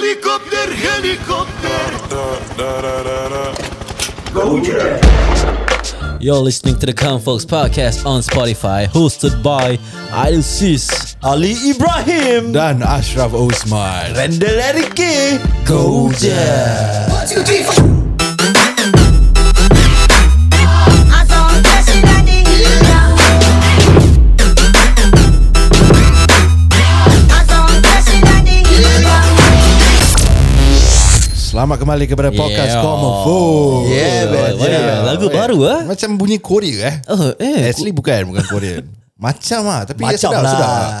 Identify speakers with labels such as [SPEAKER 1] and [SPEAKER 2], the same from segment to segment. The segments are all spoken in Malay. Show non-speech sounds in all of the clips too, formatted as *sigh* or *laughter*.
[SPEAKER 1] Helikopter, helikopter.
[SPEAKER 2] You're listening to the Come Folks podcast on Spotify, hosted by Idol Sis, Ali Ibrahim,
[SPEAKER 3] Dan Ashraf Osman
[SPEAKER 2] Randall Erike, Goja.
[SPEAKER 4] Asal tak sudah dihilang Asal tak sudah dihilang
[SPEAKER 3] Selamat kembali kepada podcast
[SPEAKER 2] Yeah.
[SPEAKER 3] yeah. Komodo
[SPEAKER 2] Yeah, baby. Wah, lagu baru, ah.
[SPEAKER 3] Macam bunyi Korea eh
[SPEAKER 2] Oh, eh.
[SPEAKER 3] Actually bukan Bukan Korean
[SPEAKER 2] *laughs*
[SPEAKER 3] Macam lah Tapi dia
[SPEAKER 5] Macam
[SPEAKER 3] sedap,
[SPEAKER 5] lah.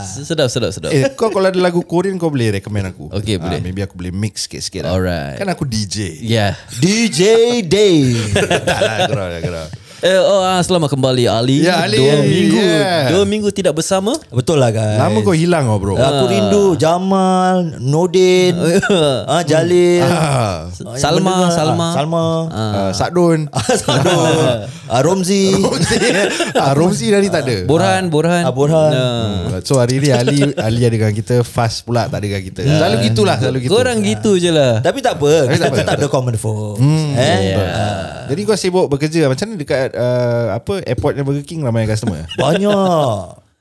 [SPEAKER 3] sedap
[SPEAKER 2] Sedap, sedap, sedap.
[SPEAKER 3] Eh kau kalau ada lagu Korean Kau boleh recommend aku Ah,
[SPEAKER 2] Okay, boleh.
[SPEAKER 3] Maybe aku boleh mix sikit-sikit lah.
[SPEAKER 2] Alright.
[SPEAKER 3] Kan aku DJ
[SPEAKER 2] Yeah.
[SPEAKER 5] DJ Dave
[SPEAKER 3] Tak lah gerau lah gerau
[SPEAKER 2] *laughs* Eh, oh, ah, selamat kembali Ali.
[SPEAKER 3] Ya, Ali.
[SPEAKER 2] Dua minggu,
[SPEAKER 3] Yeah.
[SPEAKER 2] dua minggu tidak bersama.
[SPEAKER 5] Betul lah guys
[SPEAKER 3] Lama kau hilang oh bro
[SPEAKER 5] Aku rindu Jamal Nordin ah, Jalil
[SPEAKER 3] Ah,
[SPEAKER 5] Ah,
[SPEAKER 2] Salma,
[SPEAKER 5] benda-
[SPEAKER 2] Salma.
[SPEAKER 5] ah, Salma *laughs*
[SPEAKER 3] ah,
[SPEAKER 2] *laughs*
[SPEAKER 3] Sadun
[SPEAKER 5] ah, Romzi
[SPEAKER 3] ah, Romsi tadi tak ada
[SPEAKER 2] Borhan, Borhan.
[SPEAKER 5] *laughs* Ah, Borhan.
[SPEAKER 2] Nah.
[SPEAKER 3] So hari ni Ali Ali ada dengan kita Fast pula tak ada dengan kita Selalu gitulah Selalu gitu
[SPEAKER 2] Ah.
[SPEAKER 3] Ah.
[SPEAKER 2] Korang gitu je lah.
[SPEAKER 5] Tapi tak apa
[SPEAKER 3] Tapi
[SPEAKER 5] Kita
[SPEAKER 3] tak apa.
[SPEAKER 5] tetap ada common phone hmm, eh?
[SPEAKER 3] Ah. Jadi kau sibuk bekerja Macam mana dekat uh, Apa Airportnya Burger King Ramai customer
[SPEAKER 5] *laughs* Banyak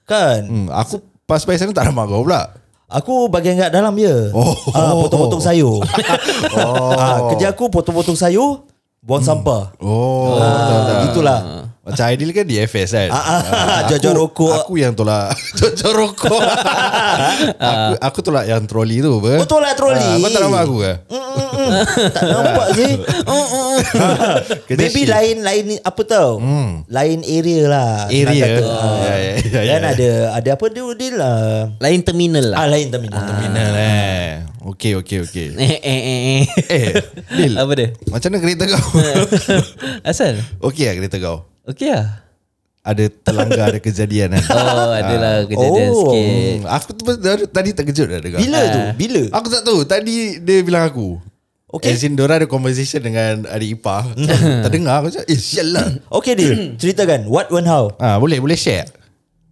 [SPEAKER 5] Kan
[SPEAKER 3] hmm, Aku pas by sana Tak ramai kau pula
[SPEAKER 5] Aku bagian kat dalam je
[SPEAKER 3] Oh.
[SPEAKER 5] ah, Potong-potong
[SPEAKER 3] *laughs*
[SPEAKER 5] sayur oh. ah, Kerja aku potong-potong sayur Buang sampah
[SPEAKER 3] Hmm. Oh
[SPEAKER 5] ah, Gitulah
[SPEAKER 3] Macam Aidil kan di FS kan
[SPEAKER 5] Ah, ah,
[SPEAKER 3] Ah, aku-
[SPEAKER 5] jajah rokok.
[SPEAKER 3] Aku yang tolak
[SPEAKER 5] *laughs*
[SPEAKER 3] Jajah rokok *laughs* aku, aku tolak yang troli tu apa?
[SPEAKER 5] Kau Oh, tolak troli?
[SPEAKER 3] Ah, Kau tak nampak aku ke?
[SPEAKER 5] Tak nampak sih
[SPEAKER 3] Kerja
[SPEAKER 5] Maybe
[SPEAKER 3] shift.
[SPEAKER 5] lain lain apa tau hmm. Lain area lah
[SPEAKER 3] Area.
[SPEAKER 5] Senang kata.
[SPEAKER 3] Ah, ya, ya, ya,
[SPEAKER 5] Dan
[SPEAKER 3] ya.
[SPEAKER 5] ada Ada apa dia Dia lah
[SPEAKER 2] Lain terminal lah.
[SPEAKER 5] Ah lain terminal, terminal.
[SPEAKER 3] Nah, nah. Okay okay okay
[SPEAKER 2] Eh, eh, eh, eh.
[SPEAKER 3] Eh Dil
[SPEAKER 2] Apa
[SPEAKER 3] *laughs*
[SPEAKER 2] dia?
[SPEAKER 3] Macam mana kereta
[SPEAKER 5] *laughs*
[SPEAKER 3] kau?
[SPEAKER 2] Asal?
[SPEAKER 3] okay lah kereta kau?
[SPEAKER 2] Okey lah.
[SPEAKER 3] Ada terlanggar ada kejadian kan?
[SPEAKER 5] *laughs*
[SPEAKER 3] Hmm,
[SPEAKER 2] Oh, adalah kejadian
[SPEAKER 5] Oh.
[SPEAKER 2] sikit.
[SPEAKER 3] Aku tu pun dari- tadi terkejut dah dengar.
[SPEAKER 5] Bila tu? Bila?
[SPEAKER 3] Aku tak tahu Tadi dia bilang aku
[SPEAKER 5] Okay.
[SPEAKER 3] As in dorang ada conversation dengan adik ipar
[SPEAKER 2] *laughs*
[SPEAKER 3] Terdengar aku cakap Eh sial lah
[SPEAKER 5] Okay Dil *clears throat* Ceritakan What when how
[SPEAKER 3] ah, Boleh boleh share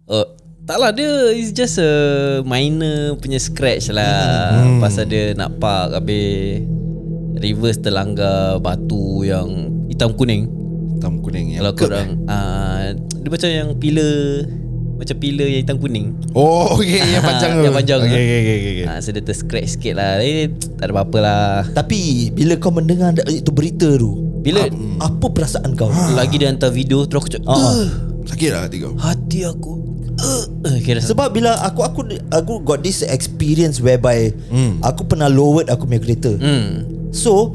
[SPEAKER 2] Oh, tak lah dia is just a minor punya scratch lah hmm. pasal dia nak park habis reverse terlanggar batu yang hitam kuning.
[SPEAKER 3] Hitam kuning
[SPEAKER 2] Kalau
[SPEAKER 3] yang
[SPEAKER 2] kau
[SPEAKER 3] curb, eh?
[SPEAKER 2] orang uh, dia macam yang pillar macam pillar yang hitam kuning.
[SPEAKER 3] Oh okay yang
[SPEAKER 2] *laughs*
[SPEAKER 3] panjang tu
[SPEAKER 2] Yang panjang tu.
[SPEAKER 3] okay, okay, okay, okay.
[SPEAKER 2] Ah, so dia terscratch sikit lah Eh, Tak ada apa-apa lah
[SPEAKER 5] Tapi Bila kau mendengar da- Itu berita tu
[SPEAKER 2] Bila
[SPEAKER 3] Hmm.
[SPEAKER 5] Apa perasaan kau
[SPEAKER 2] Lagi dia hantar video Terus aku cakap
[SPEAKER 5] Ah.
[SPEAKER 2] "Ugh,
[SPEAKER 3] Sakit lah hati kau
[SPEAKER 2] Hati aku Ugh." Eh, Kira
[SPEAKER 5] Sebab bila aku aku aku got this experience whereby
[SPEAKER 3] Hmm.
[SPEAKER 5] aku pernah lowered aku punya kereta. Hmm. So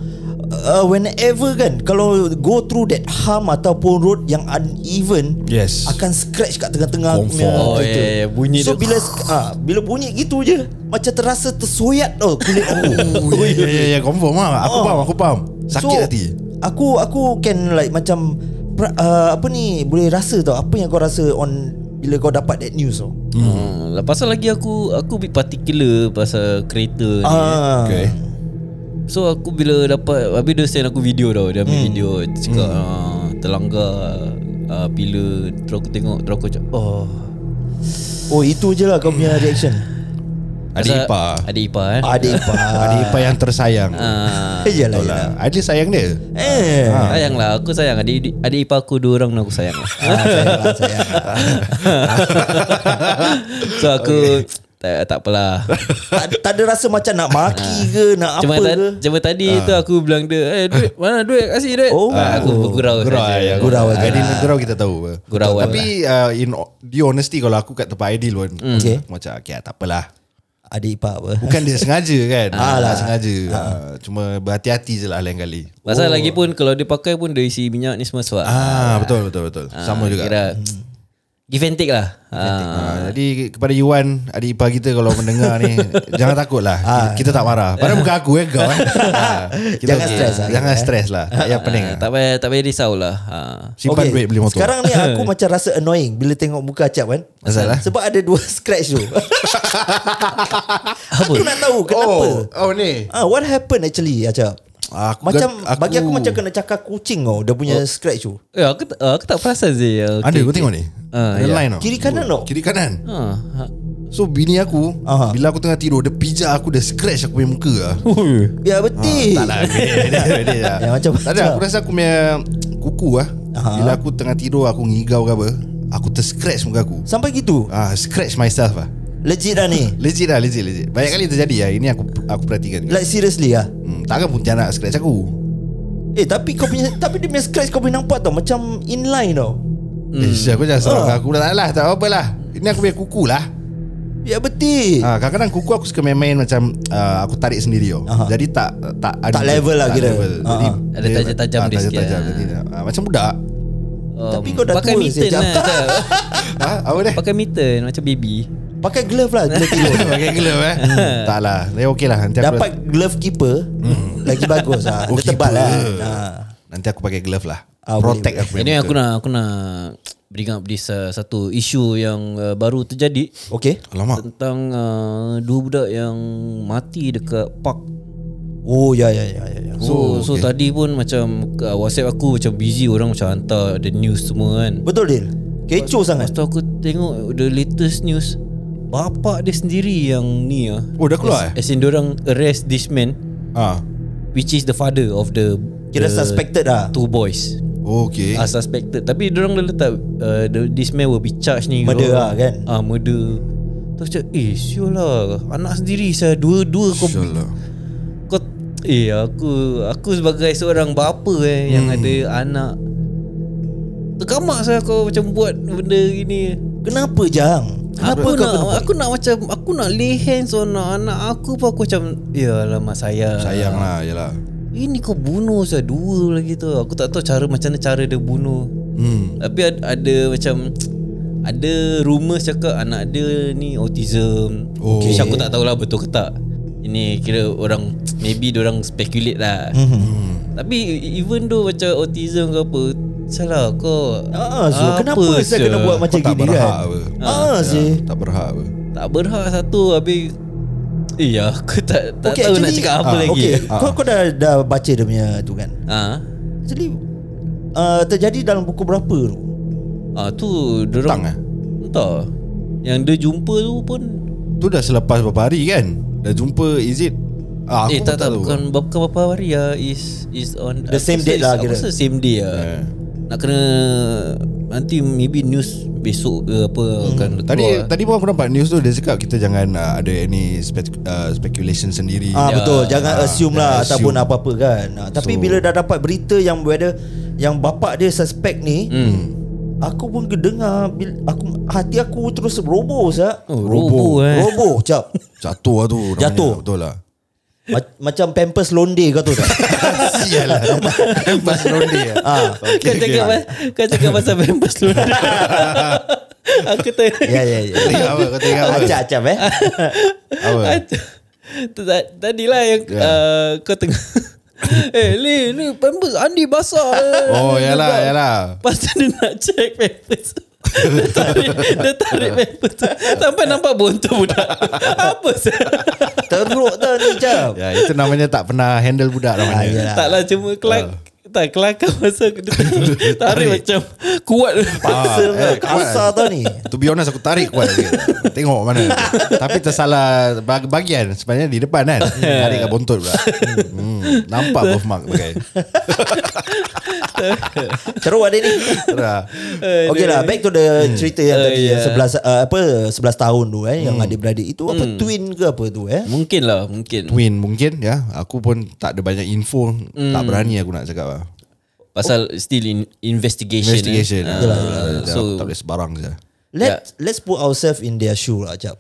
[SPEAKER 5] uh, whenever kan kalau go through that harm ataupun road yang uneven
[SPEAKER 3] Yes.
[SPEAKER 5] akan scratch kat tengah-tengah aku punya
[SPEAKER 2] Oh,
[SPEAKER 5] kereta.
[SPEAKER 2] yeah, yeah, bunyi
[SPEAKER 5] so
[SPEAKER 2] dia.
[SPEAKER 5] bila ah bila bunyi gitu je macam terasa tersoyak tau kulit aku.
[SPEAKER 3] Oh ya ya ya confirm lah Aku
[SPEAKER 5] Oh.
[SPEAKER 3] faham aku faham Sakit hati
[SPEAKER 5] Aku aku can like macam pra- uh, apa ni boleh rasa tau apa yang kau rasa on bila kau dapat that news tau.
[SPEAKER 2] Hmm. Lepas tu lagi aku Aku bit particular Pasal kereta ni
[SPEAKER 5] Ah.
[SPEAKER 3] Okay
[SPEAKER 2] So aku bila dapat Habis dia send aku video tau Dia ambil hmm. video Dia cakap hmm. ah, Terlanggar ah, Bila Terus aku tengok Terus aku cakap Oh
[SPEAKER 5] Oh itu je lah kau punya reaction
[SPEAKER 3] Adik ipar
[SPEAKER 2] Adik ipar eh
[SPEAKER 5] Adik
[SPEAKER 3] Adik
[SPEAKER 5] ipar
[SPEAKER 3] ipar yang tersayang
[SPEAKER 2] ah.
[SPEAKER 5] Yelah
[SPEAKER 3] Betul
[SPEAKER 5] yelah
[SPEAKER 3] lah Adik sayang dia
[SPEAKER 5] ya. Eh
[SPEAKER 2] Sayang lah Aku sayang Adik, adik ipar aku Dua orang ni aku sayang lah
[SPEAKER 5] Ah, sayang lah, sayang lah.
[SPEAKER 2] *laughs* So aku tak, tak apalah
[SPEAKER 5] tak, tak ada rasa macam nak maki ke Nak
[SPEAKER 2] Cuma,
[SPEAKER 5] apa
[SPEAKER 2] ta-
[SPEAKER 5] ke
[SPEAKER 2] cuma tadi tu aku bilang dia Eh duit mana duit kasih duit
[SPEAKER 5] Oh.
[SPEAKER 2] ah, Aku bergurau
[SPEAKER 3] Gurau
[SPEAKER 2] saja.
[SPEAKER 3] ya.
[SPEAKER 5] Gurau saja.
[SPEAKER 3] Aidil lah. gurau kita tahu apa.
[SPEAKER 2] Gurauan
[SPEAKER 3] Tapi uh, in the honesty kalau aku kat tempat Aidil pun
[SPEAKER 2] Hmm.
[SPEAKER 5] Okay.
[SPEAKER 3] aku macam okay tak apalah.
[SPEAKER 5] Adik ipar apa
[SPEAKER 3] Bukan dia sengaja kan.
[SPEAKER 5] *laughs* Ah lah.
[SPEAKER 3] Tak sengaja. Ah, cuma berhati-hati je lah lain kali.
[SPEAKER 2] Pasal oh. lagi pun Kalau dia pakai pun Dia isi minyak ni semua sebab
[SPEAKER 3] Ah betul betul betul. Sama juga.
[SPEAKER 2] Kira Give and take lah ah.
[SPEAKER 3] Ah, jadi kepada Yuan Adik ipar kita Kalau mendengar
[SPEAKER 5] *laughs*
[SPEAKER 3] ni Jangan takut lah Kita tak marah Padahal bukan aku eh kau eh. Ah, kita
[SPEAKER 5] Ah.
[SPEAKER 3] okey.
[SPEAKER 5] Jangan stres lah,
[SPEAKER 3] Jangan
[SPEAKER 5] eh.
[SPEAKER 3] stres lah Tak payah pening
[SPEAKER 2] Ah, Tak payah Tak payah risau lah ah.
[SPEAKER 3] Simpan duit beli motor
[SPEAKER 5] Sekarang ni
[SPEAKER 3] *laughs*
[SPEAKER 5] aku macam rasa annoying Bila tengok muka Acap kan
[SPEAKER 3] Masalah?
[SPEAKER 5] Sebab ada dua *laughs*
[SPEAKER 3] *laughs*
[SPEAKER 5] scratch tu Aku nak tahu kenapa
[SPEAKER 3] Oh Oh ni
[SPEAKER 5] Ah, What happened actually Acap
[SPEAKER 3] Aku-
[SPEAKER 5] macam
[SPEAKER 3] aku- Oh.
[SPEAKER 5] bagi aku macam kena cakar kucing tau dia punya scratch tu.
[SPEAKER 2] Eh, aku, tak- aku tak perasan sih
[SPEAKER 3] Ada kau tengok ni
[SPEAKER 2] Ah,
[SPEAKER 3] Ada
[SPEAKER 2] ya.
[SPEAKER 3] line tau
[SPEAKER 5] Kiri kanan tau.
[SPEAKER 3] Kiri kanan
[SPEAKER 2] ha. ha.
[SPEAKER 3] So bini aku
[SPEAKER 5] Aha.
[SPEAKER 3] Bila aku tengah tidur Dia pijak aku Dia scratch aku punya muka lah.
[SPEAKER 5] Ya betul
[SPEAKER 3] Tak lah bedek-bedek lah.
[SPEAKER 5] Ya, macam-
[SPEAKER 3] Tak ada aku rasa aku punya Kuku lah Bila aku tengah tidur Aku ngigau ke apa Aku terscratch muka aku
[SPEAKER 5] Sampai gitu
[SPEAKER 3] Ah, Scratch myself lah
[SPEAKER 5] Legit lah ni
[SPEAKER 3] Legit lah legit, legit Banyak kali terjadi lah Ini aku aku perhatikan
[SPEAKER 5] Like seriously lah
[SPEAKER 3] hmm, Takkan pun nak scratch aku
[SPEAKER 5] Eh tapi kau punya *laughs* Tapi dia punya scratch kau boleh nampak tau Macam inline tau
[SPEAKER 3] hmm. Ish, Aku jangan serang
[SPEAKER 5] Ah.
[SPEAKER 3] aku dah tak lah Tak apa lah Ini aku punya kuku lah
[SPEAKER 5] Ya betul
[SPEAKER 3] Ah, kadang-kadang kuku aku suka main-main macam uh, aku tarik sendiri oh.
[SPEAKER 5] Aha.
[SPEAKER 3] Jadi tak tak
[SPEAKER 5] Tak level lah kira.
[SPEAKER 3] Jadi
[SPEAKER 5] Ah,
[SPEAKER 2] ah. Ada tajam-tajam
[SPEAKER 3] ah,
[SPEAKER 2] dia sikit,
[SPEAKER 3] tajam-tajam.
[SPEAKER 2] ah.
[SPEAKER 3] Jadi, ah, macam budak.
[SPEAKER 2] Um,
[SPEAKER 5] Tapi kau dah
[SPEAKER 2] pakai
[SPEAKER 5] tua,
[SPEAKER 2] mitten
[SPEAKER 5] Sejam.
[SPEAKER 2] lah macam, *laughs*
[SPEAKER 3] ha, apa dia?
[SPEAKER 2] Pakai mitten Macam baby
[SPEAKER 5] Pakai glove lah glove
[SPEAKER 3] *laughs*
[SPEAKER 5] tidur.
[SPEAKER 3] Pakai glove eh. Hmm, tak lah. Dia okey lah nanti aku
[SPEAKER 5] Dapat glove keeper Lagi bagus ah.
[SPEAKER 3] Oh,
[SPEAKER 5] Dia tebal lah
[SPEAKER 3] keeper.
[SPEAKER 5] Ah.
[SPEAKER 3] nanti aku pakai glove lah.
[SPEAKER 5] Ah,
[SPEAKER 3] Protect
[SPEAKER 5] boleh,
[SPEAKER 3] aku. punya
[SPEAKER 2] Ini
[SPEAKER 3] muka.
[SPEAKER 2] aku nak Aku nak Bring up this uh, Satu isu yang uh, Baru terjadi
[SPEAKER 5] Okay
[SPEAKER 3] Alamak.
[SPEAKER 2] Tentang uh, Dua budak yang Mati dekat park
[SPEAKER 5] Oh ya ya ya ya, ya.
[SPEAKER 2] So, oh, so okay. tadi pun macam uh, WhatsApp aku macam busy orang macam hantar the news semua kan.
[SPEAKER 5] Betul Dil
[SPEAKER 2] Lepas
[SPEAKER 5] Kecoh sangat
[SPEAKER 2] tu aku tengok the latest news Bapak dia sendiri yang ni ah.
[SPEAKER 3] Oh, dah keluar eh?
[SPEAKER 2] As, as in diorang arrest this man
[SPEAKER 3] Ah.
[SPEAKER 2] Which is the father of the
[SPEAKER 5] Kira
[SPEAKER 2] the
[SPEAKER 5] suspected lah
[SPEAKER 2] Two boys
[SPEAKER 3] Okey.
[SPEAKER 2] Are suspected Tapi diorang dah letak uh, the, This man will be charged ni
[SPEAKER 5] Murder
[SPEAKER 2] diorang.
[SPEAKER 5] lah, kan?
[SPEAKER 2] Ah murder Terus macam Eh siul lah Anak sendiri saya Dua-dua kau
[SPEAKER 3] Insyaallah.
[SPEAKER 2] kau eh aku aku sebagai seorang bapa eh hmm. yang ada anak terkamak saya kau macam buat benda gini
[SPEAKER 5] Kenapa Jang Kenapa
[SPEAKER 2] aku
[SPEAKER 5] kau
[SPEAKER 2] nak
[SPEAKER 5] kena
[SPEAKER 2] aku nak macam aku nak lay hands on anak aku pun aku macam ya lama saya
[SPEAKER 3] Sayang lah yalah.
[SPEAKER 2] ini kau bunuh saya dua lagi tu aku tak tahu cara macam mana cara dia bunuh
[SPEAKER 3] Hmm.
[SPEAKER 2] tapi ada, ada macam ada rumours cakap anak dia ni autism.
[SPEAKER 3] Oh.
[SPEAKER 2] Which aku tak tahulah betul ke tak. Ini kira orang maybe orang speculate lah.
[SPEAKER 5] Mhm.
[SPEAKER 2] Tapi even though macam autism ke apa, salah kau.
[SPEAKER 5] Ah, so kenapa saya
[SPEAKER 2] sia?
[SPEAKER 5] kena buat macam
[SPEAKER 3] Kau tak
[SPEAKER 5] gini
[SPEAKER 3] berhak
[SPEAKER 5] kan?
[SPEAKER 3] apa.
[SPEAKER 5] Ah, sih.
[SPEAKER 3] Tak berhak apa.
[SPEAKER 2] tak berhak satu habis Eh ya, aku *laughs* tak tak
[SPEAKER 5] Okay,
[SPEAKER 2] tahu nak
[SPEAKER 5] actually-
[SPEAKER 2] cakap apa
[SPEAKER 5] ah,
[SPEAKER 2] lagi.
[SPEAKER 5] Okay,
[SPEAKER 3] Ah.
[SPEAKER 5] kau kau dah dah baca dia punya tu kan.
[SPEAKER 2] Ah.
[SPEAKER 5] Actually uh, terjadi dalam buku berapa tu?
[SPEAKER 2] Ah tu dorang
[SPEAKER 3] Tang eh?
[SPEAKER 2] Entah. Yang dia jumpa tu pun
[SPEAKER 3] Tu dah selepas berapa hari kan? Dah jumpa is it? Ah, aku
[SPEAKER 2] eh
[SPEAKER 3] pun
[SPEAKER 2] tak tak,
[SPEAKER 3] tahu.
[SPEAKER 2] bukan bukan berapa hari ya is is on
[SPEAKER 5] The
[SPEAKER 2] aku
[SPEAKER 5] same
[SPEAKER 2] rasa
[SPEAKER 5] date
[SPEAKER 2] is-
[SPEAKER 5] lah
[SPEAKER 2] aku
[SPEAKER 5] kira.
[SPEAKER 2] rasa same day lah.
[SPEAKER 3] Eh.
[SPEAKER 2] Nak kena nanti maybe news besok ke apa
[SPEAKER 5] Hmm.
[SPEAKER 2] akan keluar.
[SPEAKER 3] Tadi tadi pun aku nampak news tu dia cakap kita jangan uh, ada any spec, uh, speculation sendiri.
[SPEAKER 5] Ah betul, jangan
[SPEAKER 3] Ah,
[SPEAKER 5] assume
[SPEAKER 3] jangan
[SPEAKER 5] lah
[SPEAKER 3] assume.
[SPEAKER 5] ataupun apa-apa kan. Ah, tapi
[SPEAKER 3] So-
[SPEAKER 5] bila dah dapat berita yang whether yang bapak dia suspect ni, aku pun dengar bil- aku hati aku terus roboh sah.
[SPEAKER 2] oh, robo, eh.
[SPEAKER 5] Roboh cap.
[SPEAKER 3] Jatuh lah tu namanya.
[SPEAKER 5] Jatuh.
[SPEAKER 3] Betul lah
[SPEAKER 5] Ma- macam pampers londe kau tu tak?
[SPEAKER 3] *laughs* Sial lah
[SPEAKER 5] Eh,
[SPEAKER 3] *laughs* Pas ronde lah
[SPEAKER 5] ah. *laughs*
[SPEAKER 2] Kau cakap pas- kau cakap pasal Pampers dulu. Aku tak
[SPEAKER 5] Ya ya ya.
[SPEAKER 3] Tengok apa Kau tengok apa
[SPEAKER 5] Acap-acap eh.
[SPEAKER 3] Apa
[SPEAKER 2] *laughs* Tadi lah yang
[SPEAKER 3] Ya.
[SPEAKER 2] uh, kau tengah *laughs* Eh Lee ni Pampers Andi basah eh.
[SPEAKER 3] Oh yalah yalah
[SPEAKER 2] Lepas tu dia nak check papers *laughs* dia tarik, dia tarik papers tu Sampai nampak bontot budak *laughs* Apa sah
[SPEAKER 5] Teruk tau ni cap.
[SPEAKER 3] Ya itu namanya tak pernah handle budak
[SPEAKER 5] Ah,
[SPEAKER 3] namanya
[SPEAKER 5] yelah.
[SPEAKER 2] Tak lah cuma kelak
[SPEAKER 3] Ah.
[SPEAKER 2] Tak kelakar masa dia
[SPEAKER 3] *laughs*
[SPEAKER 2] tarik, tarik macam Kuat
[SPEAKER 5] Paksa
[SPEAKER 3] Ah,
[SPEAKER 5] ah,
[SPEAKER 3] eh, kuat.
[SPEAKER 5] kasar tau ni.
[SPEAKER 3] To be honest aku tarik kuat lagi. Tengok mana Tapi tersalah bag- bagian Sebenarnya di depan kan Tarik kat bontot pula hmm. Nampak birthmark pakai
[SPEAKER 5] Teruk ada ni.
[SPEAKER 3] Dah.
[SPEAKER 5] Okey lah back to the
[SPEAKER 3] Hmm.
[SPEAKER 5] cerita yang
[SPEAKER 2] Oh,
[SPEAKER 5] tadi
[SPEAKER 2] yeah.
[SPEAKER 5] yang 11 uh, apa 11 tahun tu eh
[SPEAKER 3] Hmm.
[SPEAKER 5] yang adik-beradik itu apa twin ke apa tu eh?
[SPEAKER 2] Mungkin lah mungkin
[SPEAKER 3] Twin mungkin ya Aku pun tak ada banyak info
[SPEAKER 5] Hmm.
[SPEAKER 3] Tak berani aku nak cakap lah
[SPEAKER 2] Pasal still in investigation
[SPEAKER 3] Investigation
[SPEAKER 2] eh.
[SPEAKER 3] lah.
[SPEAKER 2] Ah,
[SPEAKER 3] So
[SPEAKER 2] So
[SPEAKER 3] tak boleh sebarang je
[SPEAKER 5] Let yeah. let's put ourselves in their shoe lah jap.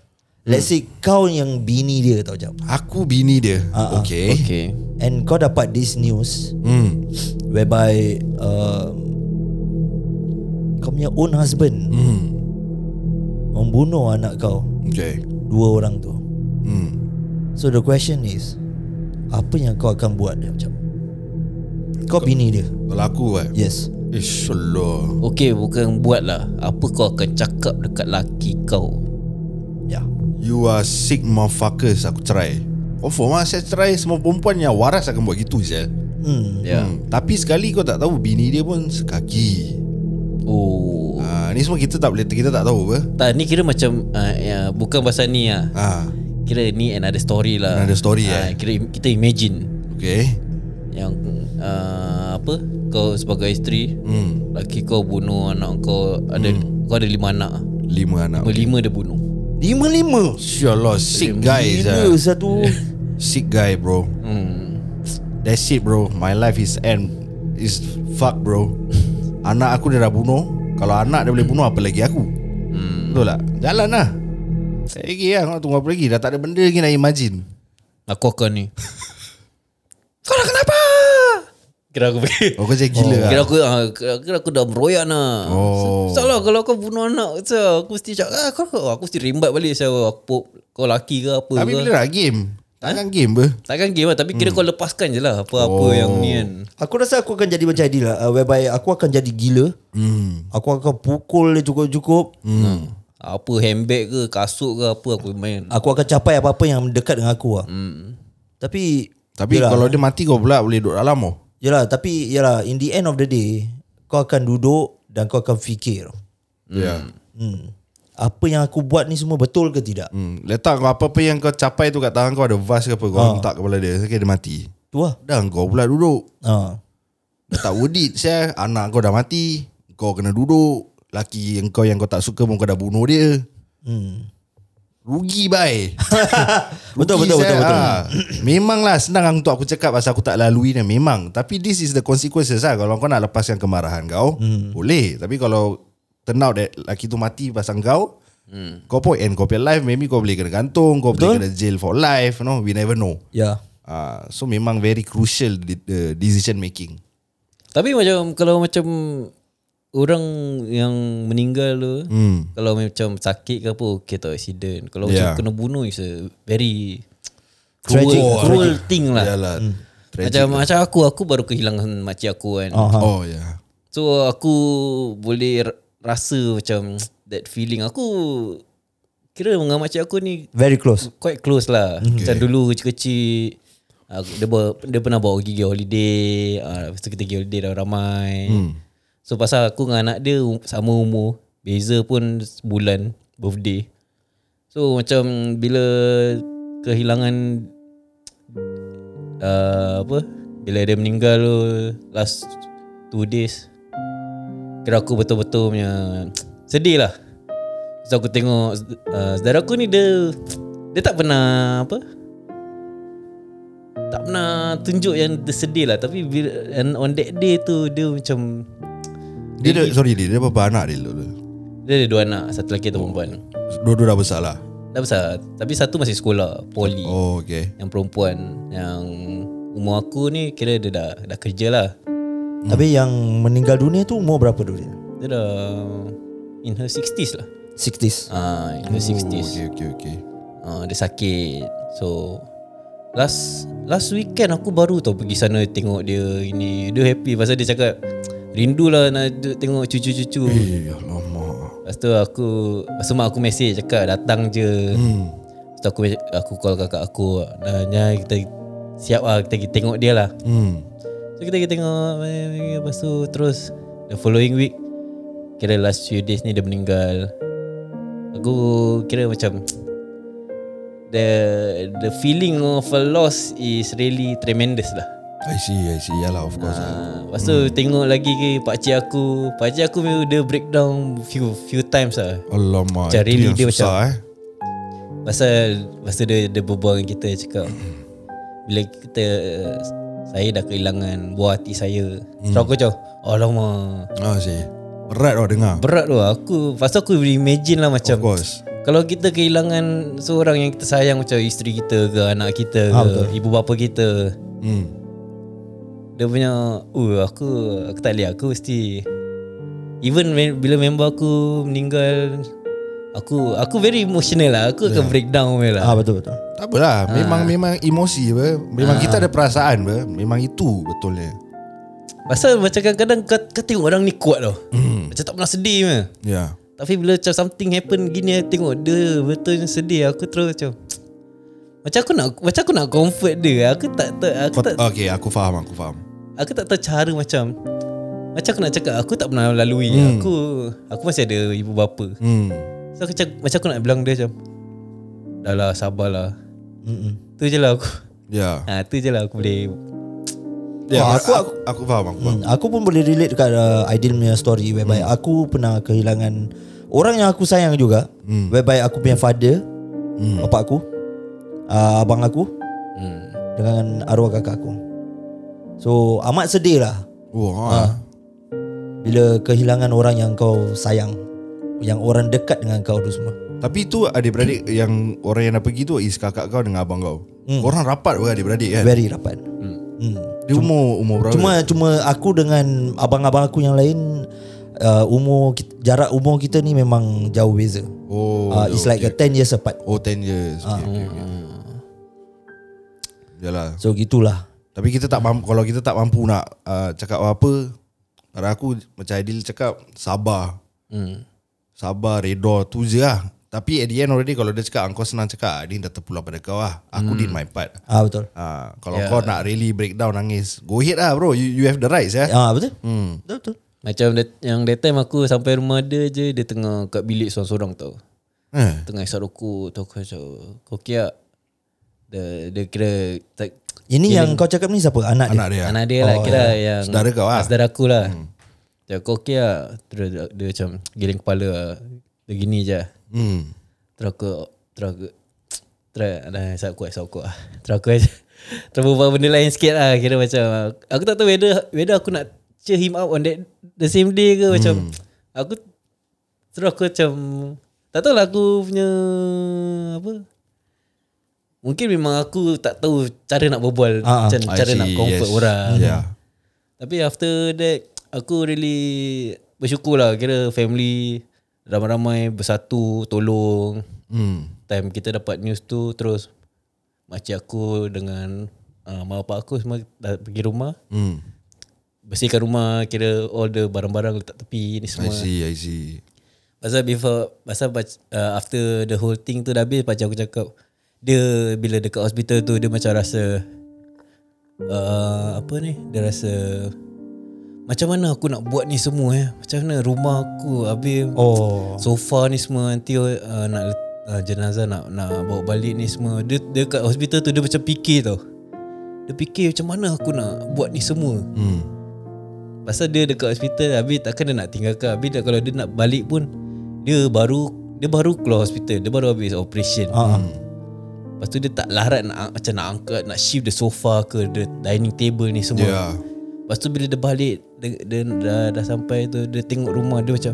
[SPEAKER 5] Let's say kau yang bini dia tau jap.
[SPEAKER 3] Aku bini dia
[SPEAKER 5] Ah, ah.
[SPEAKER 3] Okay
[SPEAKER 2] Okay
[SPEAKER 5] And kau dapat this news
[SPEAKER 3] Hmm.
[SPEAKER 5] whereby um, kau punya own husband
[SPEAKER 3] Hmm.
[SPEAKER 5] membunuh anak kau
[SPEAKER 3] Okay
[SPEAKER 5] dua orang tu.
[SPEAKER 3] Hmm.
[SPEAKER 5] So the question is apa yang kau akan buat dia jap? Kau bini dia.
[SPEAKER 3] Kalau aku kan
[SPEAKER 5] Yes.
[SPEAKER 3] Ish Allah
[SPEAKER 2] Okay bukan buat lah Apa kau akan cakap dekat laki kau
[SPEAKER 5] Ya. Yeah.
[SPEAKER 3] You are sick motherfuckers Aku cerai Confirm lah Saya cerai Semua perempuan yang waras Akan buat gitu je
[SPEAKER 5] Hmm.
[SPEAKER 2] Ya yeah.
[SPEAKER 3] hmm. Tapi sekali kau tak tahu Bini dia pun sekaki
[SPEAKER 2] Oh
[SPEAKER 3] ha, Ni ni semua kita tak boleh Kita tak tahu apa
[SPEAKER 2] Tak ni kira macam uh, ya, Bukan pasal ni lah
[SPEAKER 3] ha,
[SPEAKER 2] Kira ni another story lah
[SPEAKER 3] Another story,
[SPEAKER 2] Ah,
[SPEAKER 3] eh.
[SPEAKER 2] Kira im- kita imagine
[SPEAKER 3] Okay
[SPEAKER 2] Yang uh, Apa Kau sebagai isteri hmm. Laki kau bunuh anak kau Ada
[SPEAKER 3] Hmm.
[SPEAKER 2] Kau ada lima anak
[SPEAKER 3] Lima anak
[SPEAKER 2] Lima lima dia bunuh
[SPEAKER 5] Lima-lima
[SPEAKER 3] Insyaallah Sick guys
[SPEAKER 5] Gila
[SPEAKER 3] ah.
[SPEAKER 5] satu *laughs*
[SPEAKER 3] Sick guy bro
[SPEAKER 2] Hmm.
[SPEAKER 3] That's it bro My life is end Is fuck bro Anak aku dia dah bunuh Kalau anak dia boleh bunuh Apa lagi aku
[SPEAKER 2] Hmm.
[SPEAKER 3] Betul tak Jalan lah Saya lagi lah Kau nak tunggu apa lagi Dah tak ada benda lagi nak imagine
[SPEAKER 2] Aku akan
[SPEAKER 3] *laughs*
[SPEAKER 2] ni Kau dah kenapa Kira aku pergi
[SPEAKER 3] Oh kau jadi gila
[SPEAKER 2] oh,
[SPEAKER 3] lah
[SPEAKER 2] *laughs* Kira aku ah, kira, kira aku dah meroyak lah
[SPEAKER 3] Oh.
[SPEAKER 2] Salah kalau kau bunuh anak so, Aku mesti cakap ah, kau, kau, Aku mesti rimbat balik so, aku, Kau laki ke apa
[SPEAKER 3] Tapi
[SPEAKER 2] ke
[SPEAKER 3] bila nak game Tangan game apa
[SPEAKER 2] Takkan game lah Tapi kira kau lepaskan je lah Apa-apa
[SPEAKER 3] Oh.
[SPEAKER 2] yang ni kan
[SPEAKER 5] Aku rasa aku akan jadi macam Aidil lah uh, Whereby aku akan jadi gila hmm. Aku akan pukul dia cukup-cukup hmm.
[SPEAKER 2] Apa handbag ke Kasut ke apa Aku main
[SPEAKER 5] Aku akan capai apa-apa yang dekat dengan aku lah hmm. Tapi
[SPEAKER 3] Tapi
[SPEAKER 5] yelah,
[SPEAKER 3] kalau dia mati kau pula Boleh duduk dalam oh
[SPEAKER 5] Yelah tapi yelah In the end of the day Kau akan duduk Dan kau akan fikir
[SPEAKER 3] Ya
[SPEAKER 5] hmm. Apa yang aku buat ni semua betul ke tidak
[SPEAKER 3] Hmm,
[SPEAKER 5] hmm.
[SPEAKER 3] letak kau apa-apa yang kau capai tu kat tangan kau ada vas ke apa
[SPEAKER 2] Ah.
[SPEAKER 3] kau hentak kepala dia sekali dia mati.
[SPEAKER 5] Tu lah
[SPEAKER 3] Dah kau pula duduk.
[SPEAKER 5] ha.
[SPEAKER 3] Dah tak worth it saya Anak kau dah mati Kau kena duduk Laki yang kau yang kau tak suka pun kau dah bunuh dia
[SPEAKER 5] hmm.
[SPEAKER 3] Rugi bye
[SPEAKER 5] Betul, betul, betul, betul.
[SPEAKER 3] Ah, Memanglah senang untuk aku cakap Pasal aku tak lalui ni Memang Tapi this is the consequences lah Kalau kau nak lepaskan kemarahan kau hmm. Boleh Tapi kalau Turn out that Laki tu mati pasal kau hmm. Kau pun end kau punya life Maybe kau boleh kena gantung Kau
[SPEAKER 5] Betul.
[SPEAKER 3] boleh kena jail for life you know, We never know
[SPEAKER 5] Ya
[SPEAKER 3] uh, So memang very crucial The, the decision making
[SPEAKER 2] Tapi macam Kalau macam Orang yang meninggal tu hmm. Kalau macam sakit ke apa Okay tak accident Kalau yeah.
[SPEAKER 3] Yeah.
[SPEAKER 2] macam kena bunuh It's a very Cruel,
[SPEAKER 5] Tragic,
[SPEAKER 2] cruel, cruel thing lah
[SPEAKER 3] Yalah hmm.
[SPEAKER 2] Macam macam aku Aku baru kehilangan makcik aku kan
[SPEAKER 5] Aha.
[SPEAKER 3] Oh yeah
[SPEAKER 2] So aku boleh r- rasa macam that feeling aku kira dengan makcik aku ni
[SPEAKER 5] Very close
[SPEAKER 2] quite close lah. Okay. Macam dulu kecil-kecil aku, dia bawa, dia pernah bawa pergi holiday, ah lepas tu kita pergi holiday dah ramai. Hmm. So pasal aku dengan anak dia um- sama umur, beza pun sebulan birthday. So macam bila kehilangan uh, apa bila dia meninggal tu last two days kira aku betul-betul punya sedih lah so aku tengok uh, saudara aku ni dia dia tak pernah apa tak pernah tunjuk yang dia sedih lah tapi bila, and on that day tu dia macam
[SPEAKER 3] Dia ada, sorry dia, dia berapa anak dia dulu?
[SPEAKER 2] dia ada dua anak satu lelaki satu perempuan
[SPEAKER 3] Dua-dua dah besar lah
[SPEAKER 2] dah besar tapi satu masih sekolah poli
[SPEAKER 3] Oh okay
[SPEAKER 2] yang perempuan yang umur aku ni kira dia dah dah kerja lah
[SPEAKER 5] hmm. Tapi yang meninggal dunia tu Umur berapa dulu dia
[SPEAKER 2] Dia dah In her 60s lah
[SPEAKER 5] 60s
[SPEAKER 2] Ah, In her 60s
[SPEAKER 3] Oh, Okay okay okay
[SPEAKER 2] ah, Dia sakit So Last Last weekend aku baru tau Pergi sana tengok dia Ini Dia happy Pasal dia cakap Rindu lah nak duduk tengok cucu-cucu
[SPEAKER 3] Eh alamak
[SPEAKER 2] Lepas tu aku Lepas tu mak aku mesej Cakap datang je hmm. Lepas tu aku Aku call kakak aku Nanya kita Siap lah Kita pergi tengok dia lah
[SPEAKER 3] Hmm
[SPEAKER 2] So kita kita tengok eh, eh, Lepas tu terus The following week Kira last few days ni dia meninggal Aku kira macam The the feeling of a loss is really tremendous lah
[SPEAKER 3] I see I see Yalah of course lah
[SPEAKER 2] ha, Lepas tu tengok lagi ke pakcik aku Pakcik aku dia breakdown few few times lah Macam
[SPEAKER 3] Alamak itu
[SPEAKER 2] really
[SPEAKER 3] yang
[SPEAKER 2] dia
[SPEAKER 3] susah,
[SPEAKER 2] macam-
[SPEAKER 3] eh.
[SPEAKER 2] Pasal Pasal dia, dia berbual dengan kita Cakap Bila kita eh, Saya dah kehilangan Buah hati saya hmm. Terus aku macam Alamak
[SPEAKER 3] Ah see Berat tau dengar
[SPEAKER 2] Berat tu lah. aku Pasal aku imagine lah
[SPEAKER 3] Of
[SPEAKER 2] macam
[SPEAKER 3] course
[SPEAKER 2] Kalau kita kehilangan Seorang yang kita sayang Macam isteri kita ke Anak kita
[SPEAKER 5] Ah,
[SPEAKER 2] ke
[SPEAKER 5] betul.
[SPEAKER 2] Ibu bapa kita
[SPEAKER 3] Hmm
[SPEAKER 2] Dia punya Uh aku Aku tak boleh Aku mesti Even when, bila member aku Meninggal Aku Aku very emotional lah Aku akan breakdown punya lah
[SPEAKER 5] Ah Betul-betul
[SPEAKER 3] Tak apalah
[SPEAKER 2] Ah.
[SPEAKER 3] Memang memang emosi apa Memang kita ada perasaan apa Memang itu betulnya
[SPEAKER 2] Pasal macam kadang-kadang kau, kau tengok orang ni kuat tau
[SPEAKER 5] Hmm.
[SPEAKER 2] Macam tak pernah sedih punya
[SPEAKER 3] Ya
[SPEAKER 2] Tapi bila macam something happen gini aku tengok dia betul sedih aku terus macam macam aku nak macam aku nak comfort dia aku tak tak aku
[SPEAKER 3] Kau,
[SPEAKER 2] tak
[SPEAKER 3] Okay aku faham aku faham
[SPEAKER 2] aku tak tahu cara macam Macam aku nak cakap Aku tak pernah lalui Aku Aku masih ada ibu bapa
[SPEAKER 3] Hmm.
[SPEAKER 2] So aku cakap Macam aku nak bilang dia macam Dah lah sabarlah Mm-mm. Tu je lah aku *laughs*
[SPEAKER 3] Ya.
[SPEAKER 2] ha, Tu je lah aku boleh
[SPEAKER 3] Ya,
[SPEAKER 2] Ah,
[SPEAKER 3] aku,
[SPEAKER 5] Wah, aku-
[SPEAKER 3] aku aku faham aku faham.
[SPEAKER 5] Hmm, Aku pun boleh relate dekat uh, Aidil punya story whereby hmm. aku pernah kehilangan orang yang aku sayang juga hmm. whereby aku punya father hmm. bapa aku uh, abang aku
[SPEAKER 2] hmm.
[SPEAKER 5] dengan arwah kakak aku. So amat sedih lah
[SPEAKER 3] Oh, ha.
[SPEAKER 2] Ah.
[SPEAKER 5] bila kehilangan orang yang kau sayang yang orang dekat dengan kau tu semua.
[SPEAKER 3] Tapi tu adik-beradik yang orang yang dah pergi tu is kakak kau dengan abang kau.
[SPEAKER 5] Hmm.
[SPEAKER 3] Orang rapat pun adik-beradik kan.
[SPEAKER 5] Very rapat. Hmm. hmm.
[SPEAKER 3] Dia umur umur berapa?
[SPEAKER 5] Cuma cuma aku dengan abang-abang aku yang lain uh, umur kit- jarak umur kita ni memang jauh beza.
[SPEAKER 3] oh,
[SPEAKER 5] uh, it's like a Ah. 10 years apart.
[SPEAKER 3] Oh 10 years. Okay, okay, okay. Yalah.
[SPEAKER 5] So gitulah.
[SPEAKER 3] Tapi kita tak mampu kalau kita tak mampu nak uh, cakap apa-apa, pada aku macam Adil cakap sabar.
[SPEAKER 2] Hmm.
[SPEAKER 3] Sabar, reda tu je lah. Tapi at the end already kalau dia cakap kau senang cakap, ah, Adil dah terpulang pada kau lah. Aku did my part.
[SPEAKER 5] Ah betul.
[SPEAKER 3] Ha, kalau
[SPEAKER 5] Ya.
[SPEAKER 3] yeah. kau nak really break down nangis, go ahead lah bro. You, you have the rights ya. Yeah.
[SPEAKER 5] Ah betul. Hmm. Betul betul.
[SPEAKER 2] Macam that, yang that time aku sampai rumah dia je Dia tengah kat bilik seorang-seorang tau
[SPEAKER 3] Eh.
[SPEAKER 2] Tengah isap rokok tu aku macam Kau kiak Dia, dia kira tak,
[SPEAKER 5] Ini yang kau cakap ni siapa? Anak,
[SPEAKER 3] Anak
[SPEAKER 5] dia.
[SPEAKER 3] dia.
[SPEAKER 2] Anak dia lah
[SPEAKER 5] Oh,
[SPEAKER 2] kira yang
[SPEAKER 3] Ya. Saudara kau lah.
[SPEAKER 2] Saudara aku lah hmm. Dia kau okay lah Terus dia, dia macam giling kepala lah Dia gini je
[SPEAKER 3] Hmm.
[SPEAKER 2] Terus aku Terus aku Terus nah, Saya aku Saya aku lah Terus aku *laughs* aja Terus berbual benda lain sikit lah Kira macam Aku tak tahu whether Whether aku nak Cheer him up on that The same day ke
[SPEAKER 3] Hmm.
[SPEAKER 2] Macam Aku Terus aku macam Tak tahu lah aku punya Apa Mungkin memang aku tak tahu cara nak berbual
[SPEAKER 5] Ah, ah.
[SPEAKER 2] Macam
[SPEAKER 3] I
[SPEAKER 2] cara
[SPEAKER 3] see,
[SPEAKER 2] nak comfort
[SPEAKER 3] yes. Ya.
[SPEAKER 2] orang
[SPEAKER 3] Yeah.
[SPEAKER 2] tapi after that Aku really Bersyukur lah Kira family Ramai-ramai Bersatu Tolong
[SPEAKER 3] Hmm.
[SPEAKER 2] Time kita dapat news tu Terus Makcik aku Dengan uh, Mak bapak aku Semua dah pergi rumah
[SPEAKER 3] Hmm.
[SPEAKER 2] Bersihkan rumah Kira all the barang-barang Letak tepi Ni
[SPEAKER 3] I
[SPEAKER 2] semua
[SPEAKER 3] see, I see.
[SPEAKER 2] Pasal before Pasal bac- uh, after the whole thing tu dah habis Macam aku cakap Dia bila dekat hospital tu Dia macam rasa uh, Apa ni Dia rasa Macam mana aku nak buat ni semua eh Macam mana rumah aku Habis
[SPEAKER 5] Oh.
[SPEAKER 2] Sofa ni semua Nanti uh, nak let- uh, Jenazah nak nak bawa balik ni semua Dia, dia kat hospital tu Dia macam fikir tau Dia fikir macam mana aku nak Buat ni semua
[SPEAKER 3] Hmm.
[SPEAKER 2] Pasal dia dekat hospital Habis takkan dia nak tinggalkan Habis dia, kalau dia nak balik pun Dia baru Dia baru keluar hospital Dia baru habis operation
[SPEAKER 3] Ha,
[SPEAKER 5] Ah. ah.
[SPEAKER 2] Lepas tu dia tak larat nak, Macam nak angkat Nak shift the sofa ke The dining table ni semua
[SPEAKER 3] Yeah.
[SPEAKER 2] Lepas tu bila dia balik Dia, dia dah, dah sampai tu Dia tengok rumah Dia macam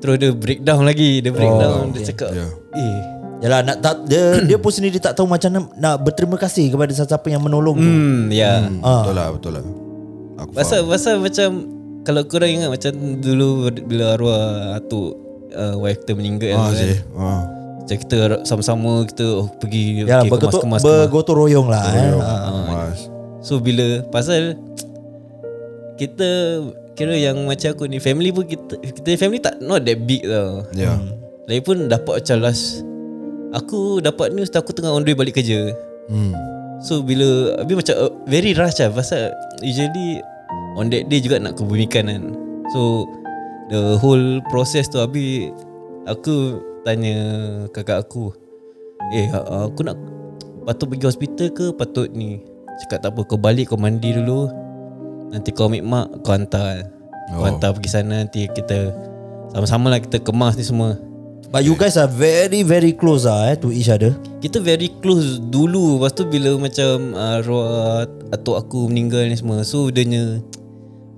[SPEAKER 2] Terus dia breakdown lagi
[SPEAKER 3] Oh,
[SPEAKER 2] Dia breakdown Dia cakap
[SPEAKER 3] yeah.
[SPEAKER 2] Eh
[SPEAKER 5] Yalah nak tak dia
[SPEAKER 2] *coughs*
[SPEAKER 5] dia pun sendiri tak tahu macam mana nak berterima kasih kepada siapa yang menolong tu.
[SPEAKER 2] Hmm ya yeah.
[SPEAKER 3] Hmm.
[SPEAKER 5] Ah.
[SPEAKER 3] Betul lah, betul lah. Aku
[SPEAKER 2] Pasal
[SPEAKER 3] faham.
[SPEAKER 2] pasal macam kalau korang ingat macam dulu bila arwah atuk uh, wife kita meninggal
[SPEAKER 3] Ah,
[SPEAKER 2] tu
[SPEAKER 3] sih. Ah.
[SPEAKER 2] Macam kita sama-sama kita oh, pergi
[SPEAKER 5] Yalah
[SPEAKER 2] okay,
[SPEAKER 5] bergotor,
[SPEAKER 2] kemas-kemas. kemas.
[SPEAKER 5] bergotong royong lah. Eh.
[SPEAKER 3] Yo,
[SPEAKER 5] Ah.
[SPEAKER 3] Mas.
[SPEAKER 2] So bila pasal kita kira yang macam aku ni family pun kita kita family tak not that big tau.
[SPEAKER 3] Yeah.
[SPEAKER 2] Lagipun dapat macam last aku dapat news tu aku tengah on the way balik kerja.
[SPEAKER 3] Hmm.
[SPEAKER 2] So bila Habis macam uh, Very rush lah Pasal Usually On that day juga Nak kebumikan kan So The whole process tu Habis Aku Tanya Kakak aku Eh uh, aku nak Patut pergi hospital ke Patut ni Cakap tak apa Kau balik kau mandi dulu Nanti kau ambil mak Kau hantar Kau
[SPEAKER 3] Oh.
[SPEAKER 2] hantar pergi sana Nanti kita Sama-sama lah kita kemas ni semua
[SPEAKER 5] But you guys are very very close ah eh, to each other.
[SPEAKER 2] kita very close dulu Lepas tu bila macam uh, arwah atuk aku meninggal ni semua So dia nya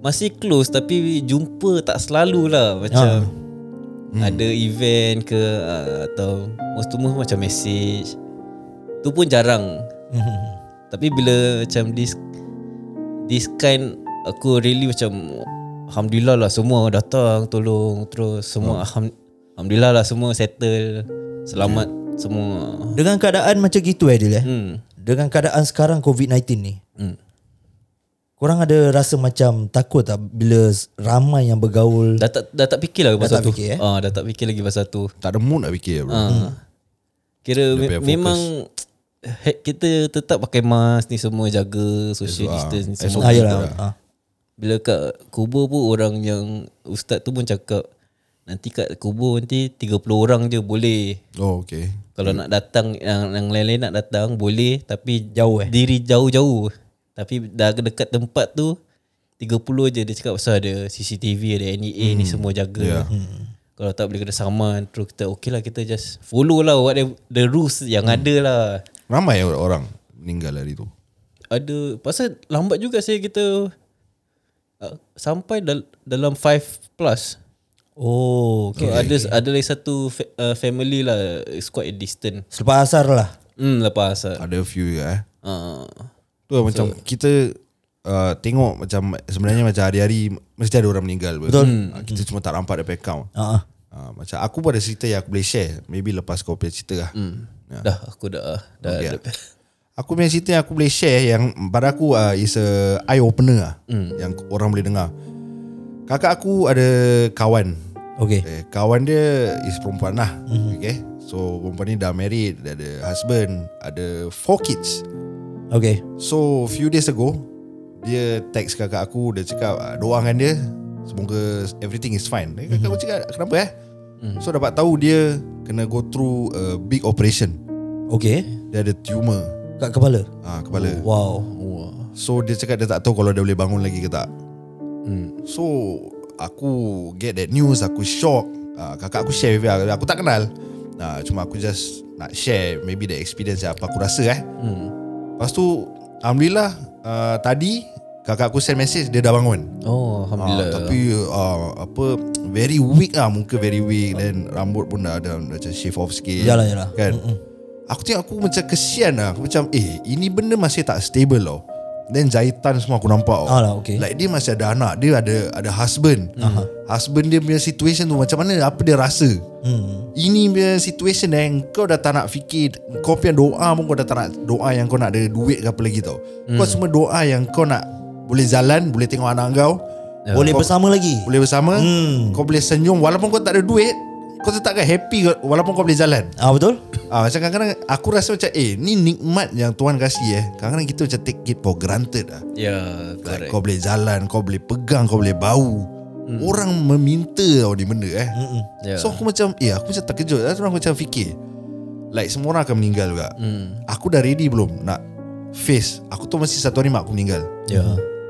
[SPEAKER 2] Masih close tapi jumpa tak selalu lah Macam Ada event ke uh, Atau Most to most macam message Tu pun jarang Tapi bila macam this This kind Aku really macam Alhamdulillah lah semua datang tolong Terus semua alham, Alhamdulillah lah semua settle Selamat semua
[SPEAKER 5] Dengan keadaan macam gitu Adil eh.
[SPEAKER 2] Hmm.
[SPEAKER 5] Dengan keadaan sekarang COVID-19 ni.
[SPEAKER 2] Hmm.
[SPEAKER 5] Korang ada rasa macam takut tak bila ramai yang bergaul?
[SPEAKER 2] Dah tak dah tak fikir lah pasal
[SPEAKER 5] tak
[SPEAKER 2] tu.
[SPEAKER 5] fikir, eh?
[SPEAKER 2] Ah, dah tak fikir lagi pasal tu.
[SPEAKER 3] Tak ada mood nak fikir bro.
[SPEAKER 2] Ah. Kira
[SPEAKER 3] Dia
[SPEAKER 2] me-
[SPEAKER 3] punya
[SPEAKER 2] memang kita tetap pakai mask ni semua jaga social distance ni
[SPEAKER 3] ah,
[SPEAKER 2] semua.
[SPEAKER 5] Ah, yalah.
[SPEAKER 3] betul
[SPEAKER 5] Ah.
[SPEAKER 2] Bila kat kubur pun orang yang Ustaz tu pun cakap Nanti kat kubur nanti 30 orang je boleh
[SPEAKER 3] Oh okay
[SPEAKER 2] Kalau nak datang yang, yang lain-lain nak datang boleh Tapi
[SPEAKER 5] Jauh, eh?
[SPEAKER 2] Diri jauh-jauh Tapi dah dekat tempat tu 30 je dia cakap pasal ada CCTV ada NEA hmm. ni semua jaga yeah. hmm. Kalau tak boleh kena saman Terus kita okay lah kita just follow lah What the, the rules yang ada lah
[SPEAKER 3] Ramai or- orang meninggal hari tu
[SPEAKER 2] ada pasal lambat juga saya kita uh, sampai dal- dalam 5 plus.
[SPEAKER 5] Oh
[SPEAKER 2] Okay, ada ada lagi satu fa- uh, family lah it's quite distant.
[SPEAKER 5] Selepas asar lah
[SPEAKER 2] Hmm lepas asal.
[SPEAKER 3] Ada few juga eh
[SPEAKER 2] Uh,
[SPEAKER 3] Tu lah macam kita uh, tengok macam sebenarnya macam hari-hari mesti ada orang meninggal Betul uh, Kita cuma tak rampat daripada account
[SPEAKER 5] uh-huh.
[SPEAKER 3] uh, Macam aku pun ada cerita yang aku boleh share Maybe lepas kau punya cerita lah
[SPEAKER 2] yeah. Dah aku dah dah
[SPEAKER 3] Okay.
[SPEAKER 2] okay.
[SPEAKER 3] Aku punya cerita yang aku boleh share yang pada aku uh, is a eye opener lah mm. yang orang boleh dengar. Kakak aku ada kawan.
[SPEAKER 5] Okay
[SPEAKER 3] Eh, kawan dia is perempuan lah. Mm-hmm. Okay. So perempuan ni dah married, dah ada husband, ada four kids.
[SPEAKER 5] Okay
[SPEAKER 3] So few days ago dia text kakak aku dia cakap ah, doakan dia semoga everything is fine. Eh, kakak aku cakap kenapa eh? Mm. So dapat tahu dia kena go through a big operation.
[SPEAKER 5] Okay
[SPEAKER 3] Dia ada tumor
[SPEAKER 5] Kat kepala
[SPEAKER 3] ah kepala.
[SPEAKER 5] Oh, Wow
[SPEAKER 3] Oh. So dia cakap dia tak tahu kalau dia boleh bangun lagi ke tak So aku get that news Aku shock uh, Kakak aku share with aku, aku tak kenal uh, Cuma aku just nak share Maybe the experience yang apa aku rasa eh Lepas tu Alhamdulillah uh, Tadi Kakak aku send message Dia dah bangun
[SPEAKER 2] Oh
[SPEAKER 3] Ah,
[SPEAKER 2] alhamdulillah.
[SPEAKER 3] Tapi uh, Apa Very weak lah Muka very weak Then rambut pun dah, dah, dah Macam shave off sikit
[SPEAKER 5] Yalah, yalah.
[SPEAKER 3] Kan Aku tengok aku macam kesian lah Aku macam Eh ini benda masih tak stable tau Then jahitan semua aku nampak tau.
[SPEAKER 5] Alah, okay.
[SPEAKER 3] Like dia masih ada anak Dia ada ada husband Husband dia punya situation tu Macam mana Apa dia rasa Ini punya situation yang Kau dah tak nak fikir Kau punya doa pun Kau dah tak nak Doa yang kau nak ada duit ke apa lagi tau
[SPEAKER 5] Hmm.
[SPEAKER 3] Kau semua doa yang kau nak Boleh jalan Boleh tengok anak kau
[SPEAKER 5] Ya. Boleh
[SPEAKER 3] Ya. Kau-
[SPEAKER 5] bersama lagi
[SPEAKER 3] boleh bersama hmm. Kau boleh senyum Walaupun kau tak ada duit Kau tetap akan happy kau- Walaupun kau boleh jalan
[SPEAKER 5] Ah Betul
[SPEAKER 3] ah, Macam kadang-kadang Aku rasa macam Eh ni nikmat yang Tuhan kasih eh Kadang-kadang kita macam take it for granted lah
[SPEAKER 2] Ya
[SPEAKER 3] like,
[SPEAKER 2] correct.
[SPEAKER 3] Kau boleh jalan Kau boleh pegang Kau boleh bau hmm. Orang meminta tau ni benda eh hmm.
[SPEAKER 2] Ya.
[SPEAKER 3] So aku macam Eh aku macam terkejut Lepas tu aku macam fikir Like semua orang akan meninggal juga hmm. Aku dah ready belum Nak face Aku tu masih satu hari mak aku meninggal
[SPEAKER 2] Ya.